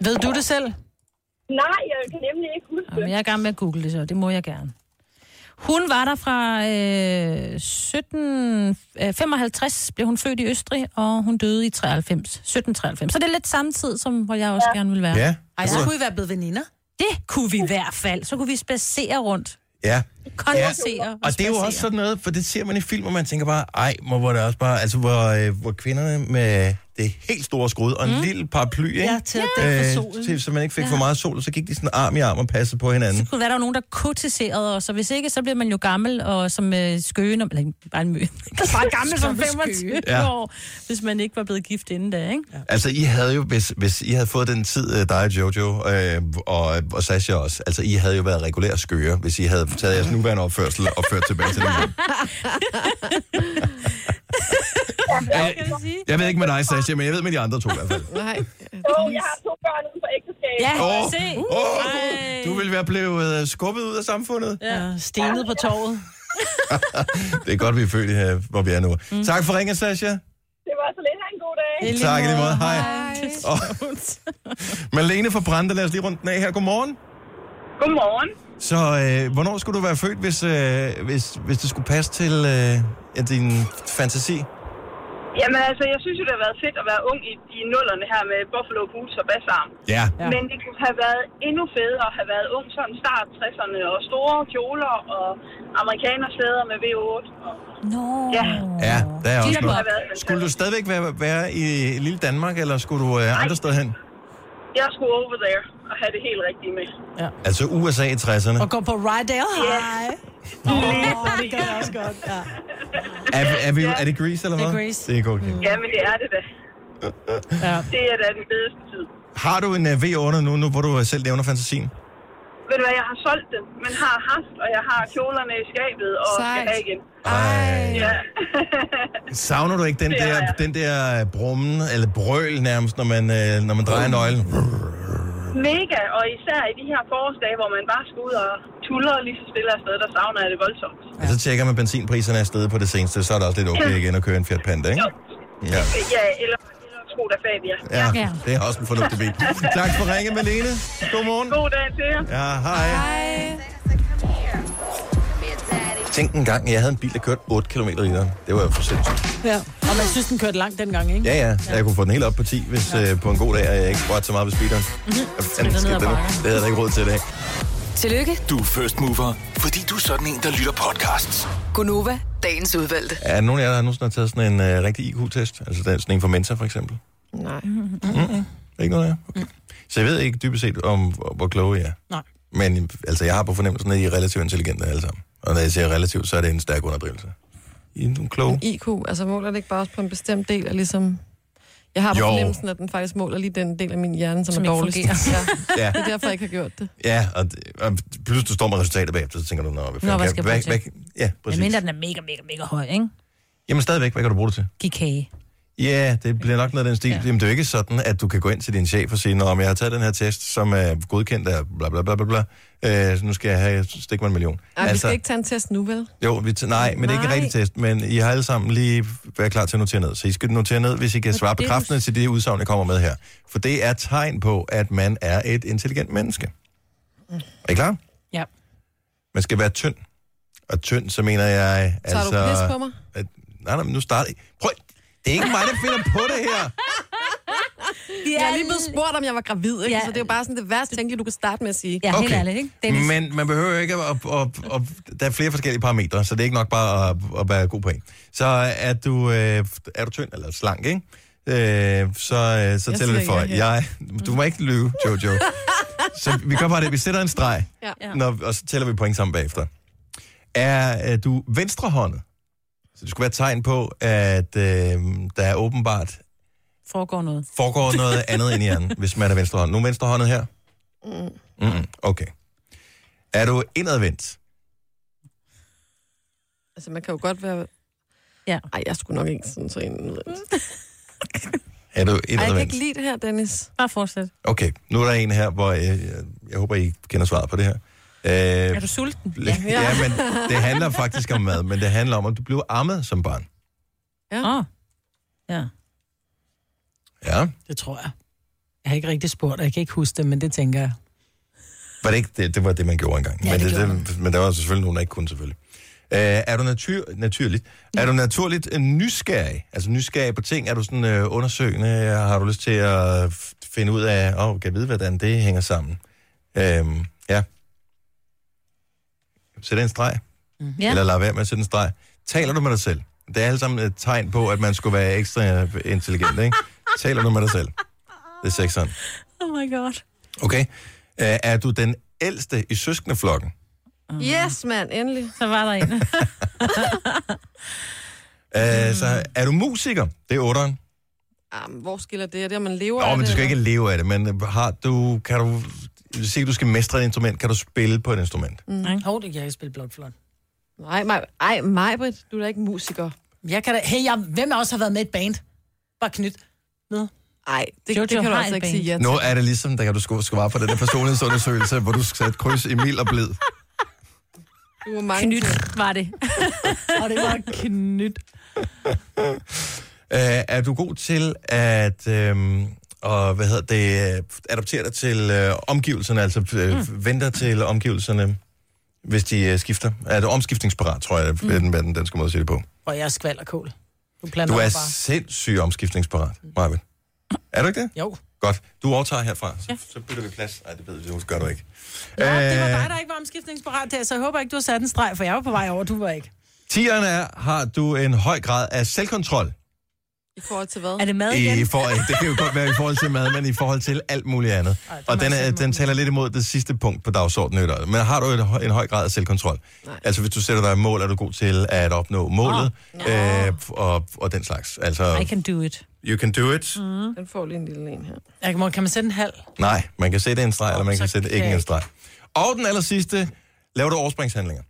B: Ved du det selv?
J: Nej, jeg kan nemlig ikke huske
C: Jamen, jeg er i gang med at google det så, det må jeg gerne. Hun var der fra øh, 1755, blev hun født i Østrig, og hun døde i 93, 1793. Så det er lidt samme tid, som hvor jeg også ja. gerne ville være.
A: Ja, det
C: Ej, så
A: var-
C: kunne vi være blevet veninder. Det kunne vi i hvert fald. Så kunne vi spacere rundt.
A: Ja.
C: Konversere
A: ja.
C: og
A: Og det er jo
C: spacere.
A: også sådan noget, for det ser man i film, og man tænker bare, ej, hvor var det også bare, altså hvor, øh, hvor kvinderne med det helt store skrud og en mm. lille paraply, ikke? Øh,
C: Ja, til at dække for solen.
A: til, så man ikke fik
C: Ja.
A: ja. for meget sol, og så gik de sådan arm i arm og passede på hinanden.
C: kunne være, der var nogen, der kotiserede os, og hvis ikke, så bliver man jo gammel, og som øh, skøen, eller ikke, bare (laughs) en mø. bare gammel som
B: Som skøge.
C: 25
A: Ja.
C: år, hvis man ikke var blevet gift inden da, ikke? Ja.
A: Altså, I havde jo, hvis, hvis I havde fået den tid, øh, dig, Jojo øh, og, og Sasha også, altså, I havde jo været regulære skøre, hvis I havde taget jeres nuværende opførsel og ført tilbage til den. Jeg, jeg ved ikke med dig, Sasha, men jeg ved med de andre to i hvert fald.
D: (laughs)
I: Nej.
J: Åh, jeg har to børn uden for ægteskab.
C: Ja,
A: Åh, åh, du ville være blevet øh, skubbet ud af samfundet.
B: Ja, stenet på torvet.
A: Det er godt, vi er født her, hvor vi er nu. Mm. Tak for ringen, Sasha.
J: Det var så lidt. Ha' en god dag.
A: Tak i lige måde. Hej. Og, Malene fra Brande, lad os lige runde den af her. Godmorgen.
J: Godmorgen.
A: Så øh, hvornår skulle du være født, hvis, øh, hvis, hvis det skulle passe til øh, ja, din fantasi?
J: Jamen altså, jeg synes jo, det har været fedt at være ung i, i nullerne her med Buffalo Bulls og Bassarm.
A: Ja.
J: Ja. Men det kunne have været endnu federe at have været ung sådan start 60'erne og store kjoler og amerikanerslæder med V8. Og...
C: Nå.
J: Ja.
A: Ja, der er
J: Det
A: også
J: kunne have været
A: noget. Skulle du stadigvæk være, være i lille Danmark, eller skulle du øh, andre steder hen?
J: Jeg skulle over there og have det helt rigtige med.
A: Altså USA i 60'erne.
B: Og gå på Rydale High. Åh, oh, det gør jeg også godt. Ja.
A: Er, er, vi, er det Grease, eller
B: Det
A: hvad?
B: er Grease.
A: Det er okay.
J: Ja, men det er det da.
B: Ja.
J: Det er da den bedste tid.
A: Har du en øh, V8 nu, nu hvor du øh, selv nævner fantasien?
J: Ved du hvad, jeg har solgt den, men har haft, og jeg har kjolerne i skabet og skal
I: Sejt.
J: have igen.
A: Ej.
J: Ja.
A: Savner du ikke den
J: Det har
A: der,
J: jeg.
A: den der øh, brummen, eller brøl nærmest, når man, øh, når man drejer nøglen?
J: Mega, og især i de her forårsdage, hvor man bare skal ud og tuller lige så stille afsted, der savner jeg det voldsomt.
A: Og så tjekker man benzinpriserne af sted på det seneste, så er det også lidt okay igen at køre en Fiat Panda, ikke? Ja.
J: Ja, eller, eller Skoda Fabia.
A: Ja, det er også en fornuftig bil. Tak for ringe, Malene. Godmorgen.
J: God dag til jer.
A: Ja, hej. Tænk en gang, jeg havde en bil, der kørte 8 km i literen. Det var jo for sindssygt.
B: ja. Og man synes, den kørte langt dengang, ikke?
A: Ja, ja, så jeg kunne få den helt op på 10, hvis ja. øh, på en god dag, og jeg ikke rørte så meget ved speederen. Hvad fanden
F: ned
A: skete
F: ad
A: Mhm. der nu?
F: bakken.
A: Det havde jeg da ikke råd til i dag.
E: Tillykke,
F: Du er first mover, fordi du er sådan en, der lytter podcasts.
E: Gunova, dagens udvalgte.
A: Er der nogen af jer, der nogensinde har taget sådan en øh, rigtig IQ-test? Altså den- sådan en for Mensa, for eksempel?
I: Nej.
A: Ikke noget af jer? Okay. Så jeg ved ikke dybest set, om hvor, hvor kloge I er.
B: Nej.
A: Men altså, jeg har på fornemmelsen, at I er relativt intelligente alle sammen. Og når jeg siger relativt, så er det en stærk underdrivelse. I er nogle kloge.
D: Men IQ, altså måler det ikke bare også på en bestemt del af ligesom... Jeg har på
A: Jo.
D: fornemmelsen, at den faktisk måler lige den del af min hjerne, som, er
C: Som ikke
D: dårligst.
C: fungerer. Altså-
D: Ja.
A: Ja.
D: Det er derfor, jeg ikke har
C: (laughs)
D: gjort det.
A: Ja, og, d- og pludselig du står med resultatet bagefter, så tænker du, Nå, hvad, fanden
C: Nå, hvad
A: kan-
C: skal jeg bruge til?
A: Ja, præcis.
C: Jeg mener, den er mega, mega, mega høj, ikke?
A: Jamen stadigvæk, hvad kan du bruge det til?
C: Giv kage.
A: Ja, det bliver nok noget af den stil. Ja. Jamen, det er jo ikke sådan, at du kan gå ind til din chef og sige, Nå, men jeg har taget den her test, som er godkendt af bla bla bla bla bla, øh, så nu skal jeg have, stik mig en million.
D: Ej, altså... vi skal ikke tage en test nu, vel?
A: Jo, vi t- nej, men det er ikke en
D: Nej.
A: rigtig test, men I har alle sammen lige været klar til at notere ned. Så I skal notere ned, hvis I kan
D: Men
A: svare
D: det er jo
A: bekræftende til det udsagn, jeg kommer med her. For det er tegn på, at man er et intelligent menneske. Er I klar?
B: Ja.
A: Man skal være tynd. Og tynd, så mener jeg...
D: Tager du
A: altså,
D: pis på mig?
A: At, nej, nej, men nu starter I. Prøv, det er ikke mig, der finder på det her.
D: Ja, jeg er lige blevet spurgt, om jeg var gravid, ikke? Ja. Så det er jo bare sådan det værste tænkelige, du kan starte med at sige.
C: Ja,
A: Okay.
C: ikke?
A: Men man behøver jo ikke at... at, at, at, at der er flere forskellige parametre, så det er ikke nok bare at, at være god på en. Så er du, øh, er du tynd eller slank, ikke? Øh, så, øh, så
M: Jeg
A: tæller
M: siger
A: det for.
M: ja,
A: Jeg,
M: ja.
A: du må ikke lyve,
M: (laughs)
A: Jojo. så vi gør bare det. Vi sætter en streg,
M: Ja.
A: når, og så tæller vi point sammen bagefter. Er øh, du venstrehåndet? Så det skulle være et tegn på, at øh, der er åbenbart
C: Foregår noget.
A: foregår
D: (laughs)
A: noget andet end i hjernen, hvis man er venstrehåndet. Nogen venstrehåndet her?
D: Mm.
A: Mm-mm. Okay. Er du indadvendt?
D: Altså, man kan jo godt være...
C: Ja.
D: Ej, jeg skulle nok ikke sådan så en...
A: Er du
D: Ej, jeg kan ikke
A: indadvendt?
D: lide det her, Dennis.
C: Bare fortsæt.
A: Okay, nu er der en her, hvor øh, jeg, jeg håber, I kender svaret på det her. Øh,
C: Er du sulten?
A: ja, ja, men det handler faktisk om mad, men det handler om, at du blev ammet som barn.
D: Ja.
C: Åh. Ja.
A: Ja,
B: Det tror jeg. Jeg har ikke rigtig spurgt, og jeg kan ikke huske det, men det tænker jeg.
A: var det ikke det, det var det, man gjorde engang.
B: Ja,
A: men,
B: det
A: det, det, men der var selvfølgelig nogen, der ikke kunne selvfølgelig. Øh, er du natyr, naturligt? Er du naturligt øh, nysgerrig? Altså nysgerrig på ting? Er du sådan øh, undersøgende? Har du lyst til at f- finde ud af, åh, oh, kan jeg vide, hvordan det hænger sammen? Øh, ja. Sæt en streg. ja. eller lad være med at sætte en streg. Taler du med dig selv? Det er alle sammen et tegn på, at man skulle være ekstra intelligent, ikke? Taler du med dig selv? Det er sekseren.
C: Oh my god.
A: Okay? Øh, er du den ældste i søskendeflokken?
D: Yes, mand, endelig.
C: Så var der
A: (laughs)
C: en.
A: Øh, så er du musiker? Det er otteren.
D: Jamen, hvor skiller det? Er det, om man lever
A: Nå,
D: af
A: men
D: det,
A: du skal
D: eller?
A: ikke leve af det, men har du, kan du, hvis ikke du skal mestre et instrument, kan du spille på et instrument?
B: Mm. Hov, det kan jeg ikke spille blokflot.
D: Nej, Maj, ej, Majbrit, du er da ikke musiker.
B: Jeg kan da... Hey, jeg... hvem af os har været med i et band? Bare knyt. Med.
D: Nej, det,
B: Jojo
D: det kan du
B: har
D: altså
B: et
D: ikke
B: band.
D: sige ja til.
A: Nu er det ligesom, der kan du sku- svare på den der personlighedsundersøgelse, hvor du skal sætte kryds i mild og blid.
D: Du er mange Knyt
C: var det.
B: (laughs) og det var knyt.
A: Øh, er du god til at øhm, og, hvad hedder det, øh, adoptere dig til øh, omgivelserne, altså øh, mm. venter til omgivelserne, hvis de øh, skifter? Er du omskiftningsparat, tror jeg, mm. er den, den danske måde at sige det på.
B: Og jeg er skvalderkål. Du planter
A: Du
B: mig
A: er
B: bare.
A: sindssygt omskiftningsparat, Marvin. Er du ikke det?
B: Jo.
A: Godt. Du overtager herfra, så, ja. så bytter vi plads. Nej, det ved jeg, det gør du ikke.
B: Nå, det var
A: Øh,
B: dig, der ikke var omskiftningsparat der, så jeg håber ikke, du har sat en streg, for jeg var på vej over, du var ikke.
A: Tieren er, har du en høj grad af selvkontrol.
D: I forhold til hvad?
C: Er det mad
A: I for, det kan jo godt være i forhold til mad, men i forhold til alt muligt andet. Ej, og den, er, den taler lidt imod det sidste punkt på dagsordenen. Eller? Men har du et, hø- en høj grad af selvkontrol? Nej. Altså hvis du sætter dig et mål, er du god til at opnå målet øh, og, og den slags.
C: I
A: Altså,
C: can do it.
A: you can do it.
D: Mm. Den får lige en lille en her.
B: Jeg kan, kan man sætte en halv?
A: Nej, man kan sætte en streg, eller man kan
B: så
A: sætte
B: kan
A: ikke
B: jeg
A: en
B: ikke.
A: streg. Og den aller sidste, laver du overspringshandlinger?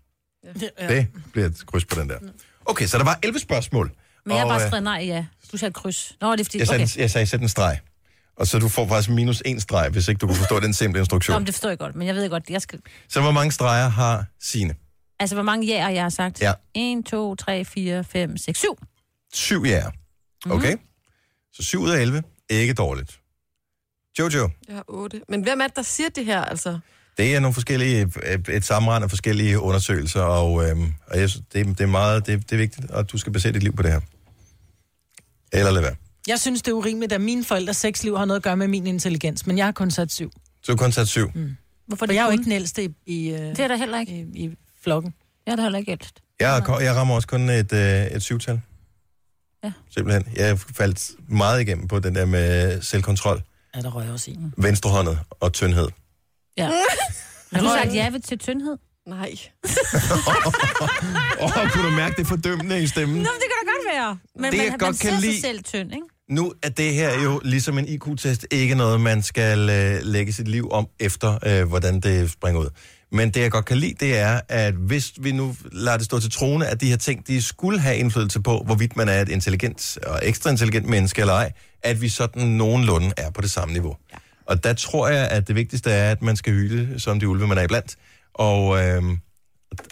B: Ja.
A: Det bliver et kryds på den der. Okay, så der var 11 spørgsmål.
C: Men jeg har
A: Og,
C: bare
A: øh,
C: skrevet nej, ja. Du sagde kryds. Nå, det er fordi...
A: Jeg sagde,
C: Okay.
A: okay. jeg sagde, sæt en streg. Og så du får faktisk minus en streg, hvis ikke du kunne forstå den simple
C: Nå,
A: instruktion.
C: men det forstår jeg godt, men jeg ved godt, jeg skal...
A: Så hvor mange streger har sine?
C: Altså, hvor mange ja'er jeg har sagt?
A: Ja.
C: 1, 2, 3, 4, 5, 6, 7.
A: Syv jæger. Okay?
C: Mhm.
A: Mm-hmm. Så syv ud af 11. Ikke dårligt. Jojo,
D: Jeg har otte. Men hvem er det, der siger det her, altså?
A: det er nogle forskellige, et- et sammenrend af forskellige undersøgelser, og, øhm, og jeg, synes, det, det, er meget, det, det er vigtigt, at du skal basere dit liv på det her. Eller lad være.
B: Jeg synes, det er urimeligt, at mine forældres sexliv har noget at gøre med min intelligens, men jeg har kun sat syv.
A: Så du har kun sat syv. Mm.
C: Hvorfor
B: For jeg er jo ikke den ældste i, i, det
C: er der heller ikke.
B: I, i flokken.
C: Jeg er der heller ikke ældst.
A: Jeg, er ko- jeg rammer også kun et, øh, et syvtal.
C: Ja.
A: Simpelthen. Jeg faldt meget igennem på den der med selvkontrol.
B: Ja, der røg også i.
A: Venstrehåndet og tyndhed.
C: Ja. (laughs) Har du sagt ja ved- til tyndhed?
D: Nej.
A: Åh, oh, kunne du mærke det fordømmende i stemmen?
C: Nå, men det kan da godt være. Men
A: Det,
C: man,
A: jeg
C: man
A: godt
C: ser
A: kan
C: sig
A: lide-
C: selv tynd, ikke?
A: Nu er det her jo ligesom en IQ-test ikke noget, man skal øh, lægge sit liv om efter, øh, hvordan det springer ud. Men det, jeg godt kan lide, det er, at hvis vi nu lader det stå til troende, at de her ting, de skulle have indflydelse på, hvorvidt man er et intelligent og ekstra intelligent menneske eller ej, at vi sådan nogenlunde er på det samme niveau. Ja. Og der tror jeg, at det vigtigste er, at man skal hylde som de ulve, man er iblandt. Og, øh,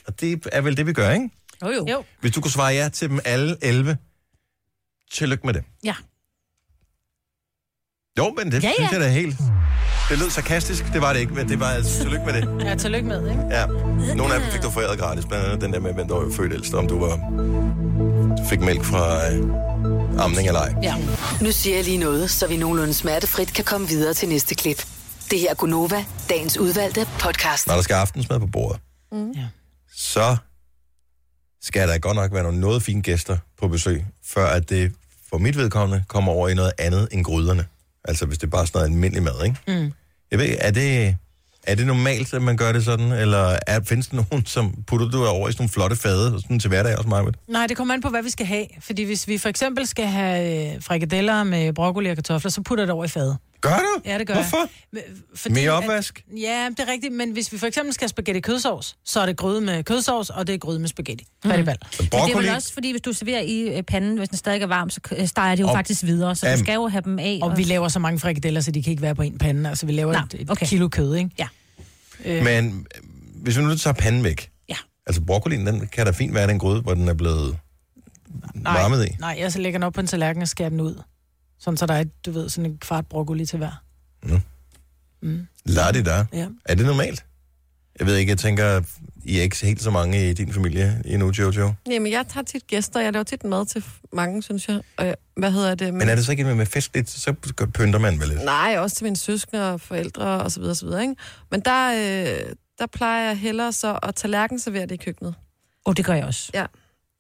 A: og det er vel det, vi gør, ikke?
C: Jo, jo. jo.
A: Hvis du kunne svare ja til dem alle 11, tillykke med det.
C: Ja.
A: Jo, men det ja,
B: Ja, ja.
A: ja. synes jeg da helt... Det lød sarkastisk, det var det ikke, men det var altså tillykke med det.
B: Ja, tillykke med, ikke?
A: Ja. Nogle af dem fik du foræret gratis, blandt andet den der med, hvem der var født ældst, om du var fik mælk fra øh, amning eller ej.
B: Ja.
E: Nu siger jeg lige noget, så vi nogenlunde smertefrit kan komme videre til næste klip. Det her er Gunova, dagens udvalgte podcast.
A: Når der skal aftensmad på bordet,
E: Mm.
A: så skal der godt nok være nogle noget fine gæster på besøg, før at det for mit vedkommende kommer over i noget andet end gryderne. Altså hvis det er bare sådan noget almindelig mad, ikke?
B: Mm.
A: Jeg ved, ikke, er det, er det normalt, at man gør det sådan, eller er, findes der nogen, som putter du over i sådan nogle flotte fade sådan til hverdag også, Marvind?
B: Nej, det kommer an på, hvad vi skal have. Fordi hvis vi for eksempel skal have øh, frikadeller med broccoli og kartofler, så putter jeg det over i fadet.
A: Gør du?
B: Ja, det gør
A: Hvorfor?
B: jeg. Men, Fordi,
A: Mere
B: at-
A: opvask?
B: ja, det er rigtigt, men hvis vi for eksempel skal have spaghetti kødsovs, så er det gryde med kødsovs, og det er gryde med spaghetti. Mm. Broccoli.
C: Men det er vel også, fordi hvis du serverer i øh, panden, hvis den stadig er varm, så øh, steger det jo
B: Og-
C: faktisk videre, så
B: Am.
C: du skal jo have dem af.
B: Og vi laver så mange frikadeller, så de kan ikke være på en pande. Altså, vi laver
C: Nå,
B: et, et okay. kilo kød, ikke?
C: Ja.
B: Øh,
A: Men øh, hvis vi nu tager panden væk,
B: Ja.
A: altså broccolien, den kan da fint være den gryde, hvor den er blevet
B: nej,
A: varmet i.
B: Nej, jeg så lægger den op på en tallerken og skærer den ud. Sådan, så der er, et, du ved, sådan en kvart broccoli til hver.
A: Lad det der.
B: Ja.
A: Er det normalt? Jeg ved ikke, jeg tænker, I er ikke helt så mange i din familie endnu, Jojo.
D: Jamen, jeg tager tit gæster, jeg laver tit mad til mange, synes jeg. Og jeg- hvad hedder det?
A: Men er det så ikke med- med festligt, så pynter man vel lidt?
D: Nej, også til mine søskende og forældre og så videre, og så videre, ikke? Men der, øh, der plejer jeg hellere så at tallerkenservere det i køkkenet.
C: Åh, oh, det gør jeg også.
D: Ja.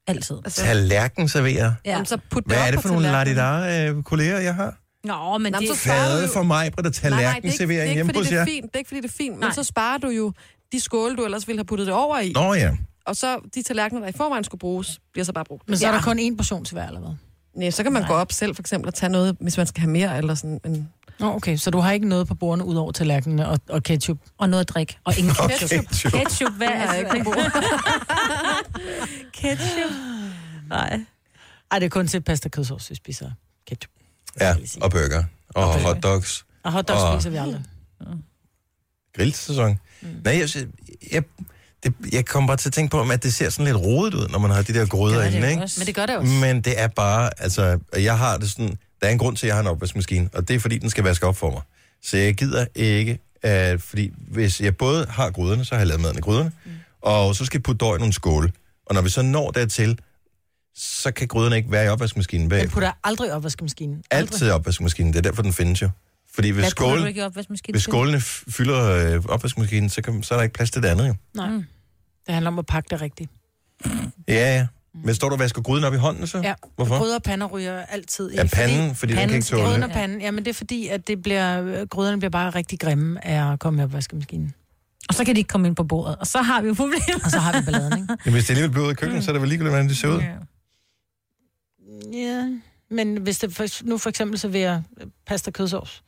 D: altså,
C: Altid.
A: Tallerken serverer.
D: Ja. Jamen, så put det
A: Hvad
D: op
A: er det
D: på
A: for nogle
D: tallerkenen.
A: ladidar øh, kolleger, jeg har?
C: Nå, men
D: Nå, men
C: det...
D: så sparer du
A: Fade
D: jo-
A: for mig, på der tallerken
D: det er ikke, det er
A: servering
D: ikke
A: hjemme
D: fordi
A: hos
D: det er
A: jer.
D: fint, det er ikke fordi det er fint, men så sparer du jo de skåle, du ellers ville have puttet det over i.
A: Nå ja.
D: Og så de tallerkener, der i forvejen skulle bruges, bliver så bare brugt.
B: Men så er der kun en portion til hver, eller hvad?
D: Nej, så kan man gå op selv for eksempel og tage noget, hvis man skal have mere eller sådan. Men...
B: Nå, okay, så du har ikke noget på bordene ud over tallerkenene og, og ketchup?
C: Og noget at drikke.
A: (laughs)
C: Og ingen
B: Og
C: ketchup.
B: ketchup.
C: Ketchup, hvad
B: Det har
C: er
B: jeg ikke på
C: (laughs) ketchup. Nej.
B: Ej, det er kun til pasta og kødsovs, vi spiser ketchup.
A: Ja, og burger. Og, og hotdogs.
B: Og hotdogs og... spiser vi aldrig.
A: grillsæson. Mm. Nej, jeg, jeg, det, jeg kommer bare til at tænke på, at det ser sådan lidt rodet ud, når man har de der
B: gør
A: gryder
B: det
A: inde,
B: jo
A: ikke?
B: også. Men det gør det også.
A: Men det er bare, altså, og jeg har det sådan, der er en grund til, at jeg har en opvaskemaskine, og det er, fordi den skal vaske op for mig. Så jeg gider ikke, at, fordi hvis jeg både har gryderne, så har jeg lavet maden i gryderne, mm. og så skal jeg putte døgn i nogle skåle. Og når vi så når dertil, så kan gryderne ikke være i opvaskemaskinen
B: Jeg
A: bag.
B: putter aldrig opvaskemaskinen.
A: Altid i opvaskemaskinen, det er derfor, den findes jo. Fordi hvis
C: Hvad putter du
A: skålen,
C: ikke i opvaskemaskinen?
A: hvis skålene f- fylder øh, opvaskemaskinen, så, kan, så er der ikke plads til det andet, jo.
B: Nej. Mm. Det handler om at pakke det rigtigt.
A: Ja, Mm. ja. Men står du og vasker gryden op i hånden, så?
B: Ja.
A: Hvorfor?
B: Brød og pander ryger altid i.
A: Ja, panden, fordi den kan ikke tåle
B: Gryden
A: det.
B: og panden, ja, men det er fordi, at det bliver, gryderne bliver bare rigtig grimme af at komme i opvaskemaskinen.
C: Og så kan de ikke komme ind på bordet. Og så har vi jo problemer.
B: Og så har vi balladen, ikke?
A: Jamen, hvis det alligevel bliver ud i køkkenet, så er det vel ligegyldigt, hvordan det ser ud. Mm. Ja.
B: Ja, men hvis det for, nu for eksempel serverer øh, pasta og kødsovs,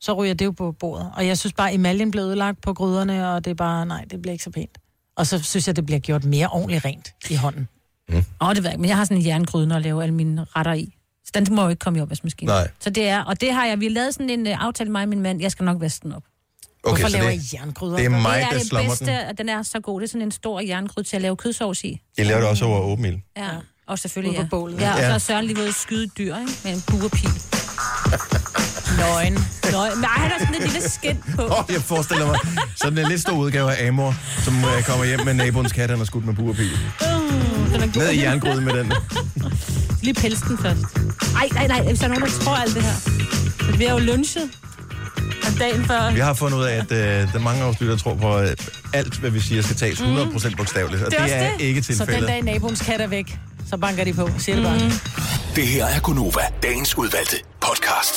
B: så ryger det jo på bordet. Og jeg synes bare, at emaljen blev ødelagt på gryderne, og det er bare, nej, det bliver ikke så pænt. Og så synes jeg, det bliver gjort mere ordentligt rent i hånden.
C: Åh, det ved jeg ikke, men jeg har sådan en jerngryde, når jeg laver alle mine retter i. Så den må jo ikke komme i opvaskemaskinen.
A: Nej.
C: Så det er, og det har jeg, vi har lavet sådan en uh, aftale, mig og min mand, jeg skal nok vaske den op.
A: Okay,
B: Hvorfor
A: så
B: laver
A: det-
B: I jerngryder?
A: det er mig,
C: det er
A: der
C: det
A: slammer
C: bedste,
A: den.
C: og den er så god. Det er sådan en stor jerngryde til at lave kødsovs i.
A: Jeg laver det også over åben ild.
C: Ja. ja. Og selvfølgelig,
B: Ude på
C: ja.
B: bålet.
C: ja. og så
A: Ja.
C: er Søren lige ved at skyde et dyr, ikke? Med en buerpil.
B: Nøgen.
C: Nøj, men ej, han har sådan et lille skind på.
A: Åh, jeg (laughs) forestiller mig sådan en lidt stor udgave af Amor, som øh, kommer hjem med naboens kat, han har skudt med burpil.
C: Uh, den er god.
A: Ned i jerngryden med den.
C: Lige pels den først. Ej, nej, nej, hvis der er nogen, der tror alt det her. Vi har jo lunchet. Og dagen før.
A: Vi har fundet ud af, at øh, der er mange af os lyttere, der tror på, at alt, hvad vi siger, skal tages 100% bogstaveligt. Og Mm. det er,
B: også
A: ikke
B: Så den
A: tilfældet.
B: dag naboens kat er væk, så banker de på, siger det bare.
F: Det her er Gunova, dagens udvalgte podcast.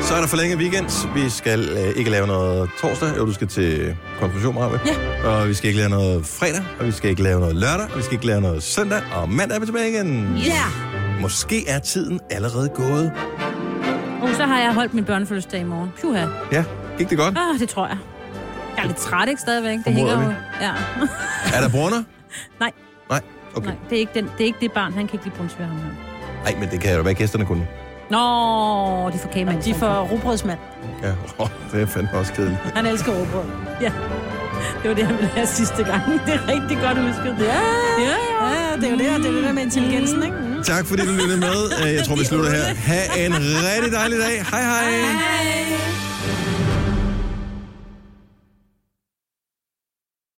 A: Så er der forlænget weekend. Vi skal øh, ikke lave noget torsdag, jo, du skal til konfirmation, Marve. Ja. Og vi skal ikke lave noget fredag, og vi skal ikke lave noget lørdag, og vi skal ikke lave noget søndag, og mandag er vi tilbage igen.
C: Ja!
A: Måske er tiden allerede gået.
C: Og så har jeg holdt min børnefødselsdag i morgen. Puha.
A: Ja, gik det godt?
C: Åh, oh, det tror jeg. Jeg er lidt træt, ikke stadigvæk? Det
A: Formoder
C: hænger
A: vi.
C: jo. Ja.
A: Er der brunner?
C: (laughs) Nej.
A: Nej, okay.
C: Nej, det er, ikke den, det er ikke det barn. Han kan ikke lide brunsvær, ham her.
A: Nej, men det kan jo være, gæsterne kunne.
C: Nå, de får kagemand. De får
B: robrødsmand.
A: Ja, oh, det er fandme også kedeligt.
B: Han elsker råbrød.
C: Ja. Det var det, han ville have sidste gang. Det er rigtig godt husket.
B: Ja, ja, ja. Det er jo det, og det er det der med intelligensen, ikke?
A: Tak fordi du lyttede med. Øh, Jeg tror, vi slutter her. Ha' en rigtig dejlig dag. Hej hej. hej.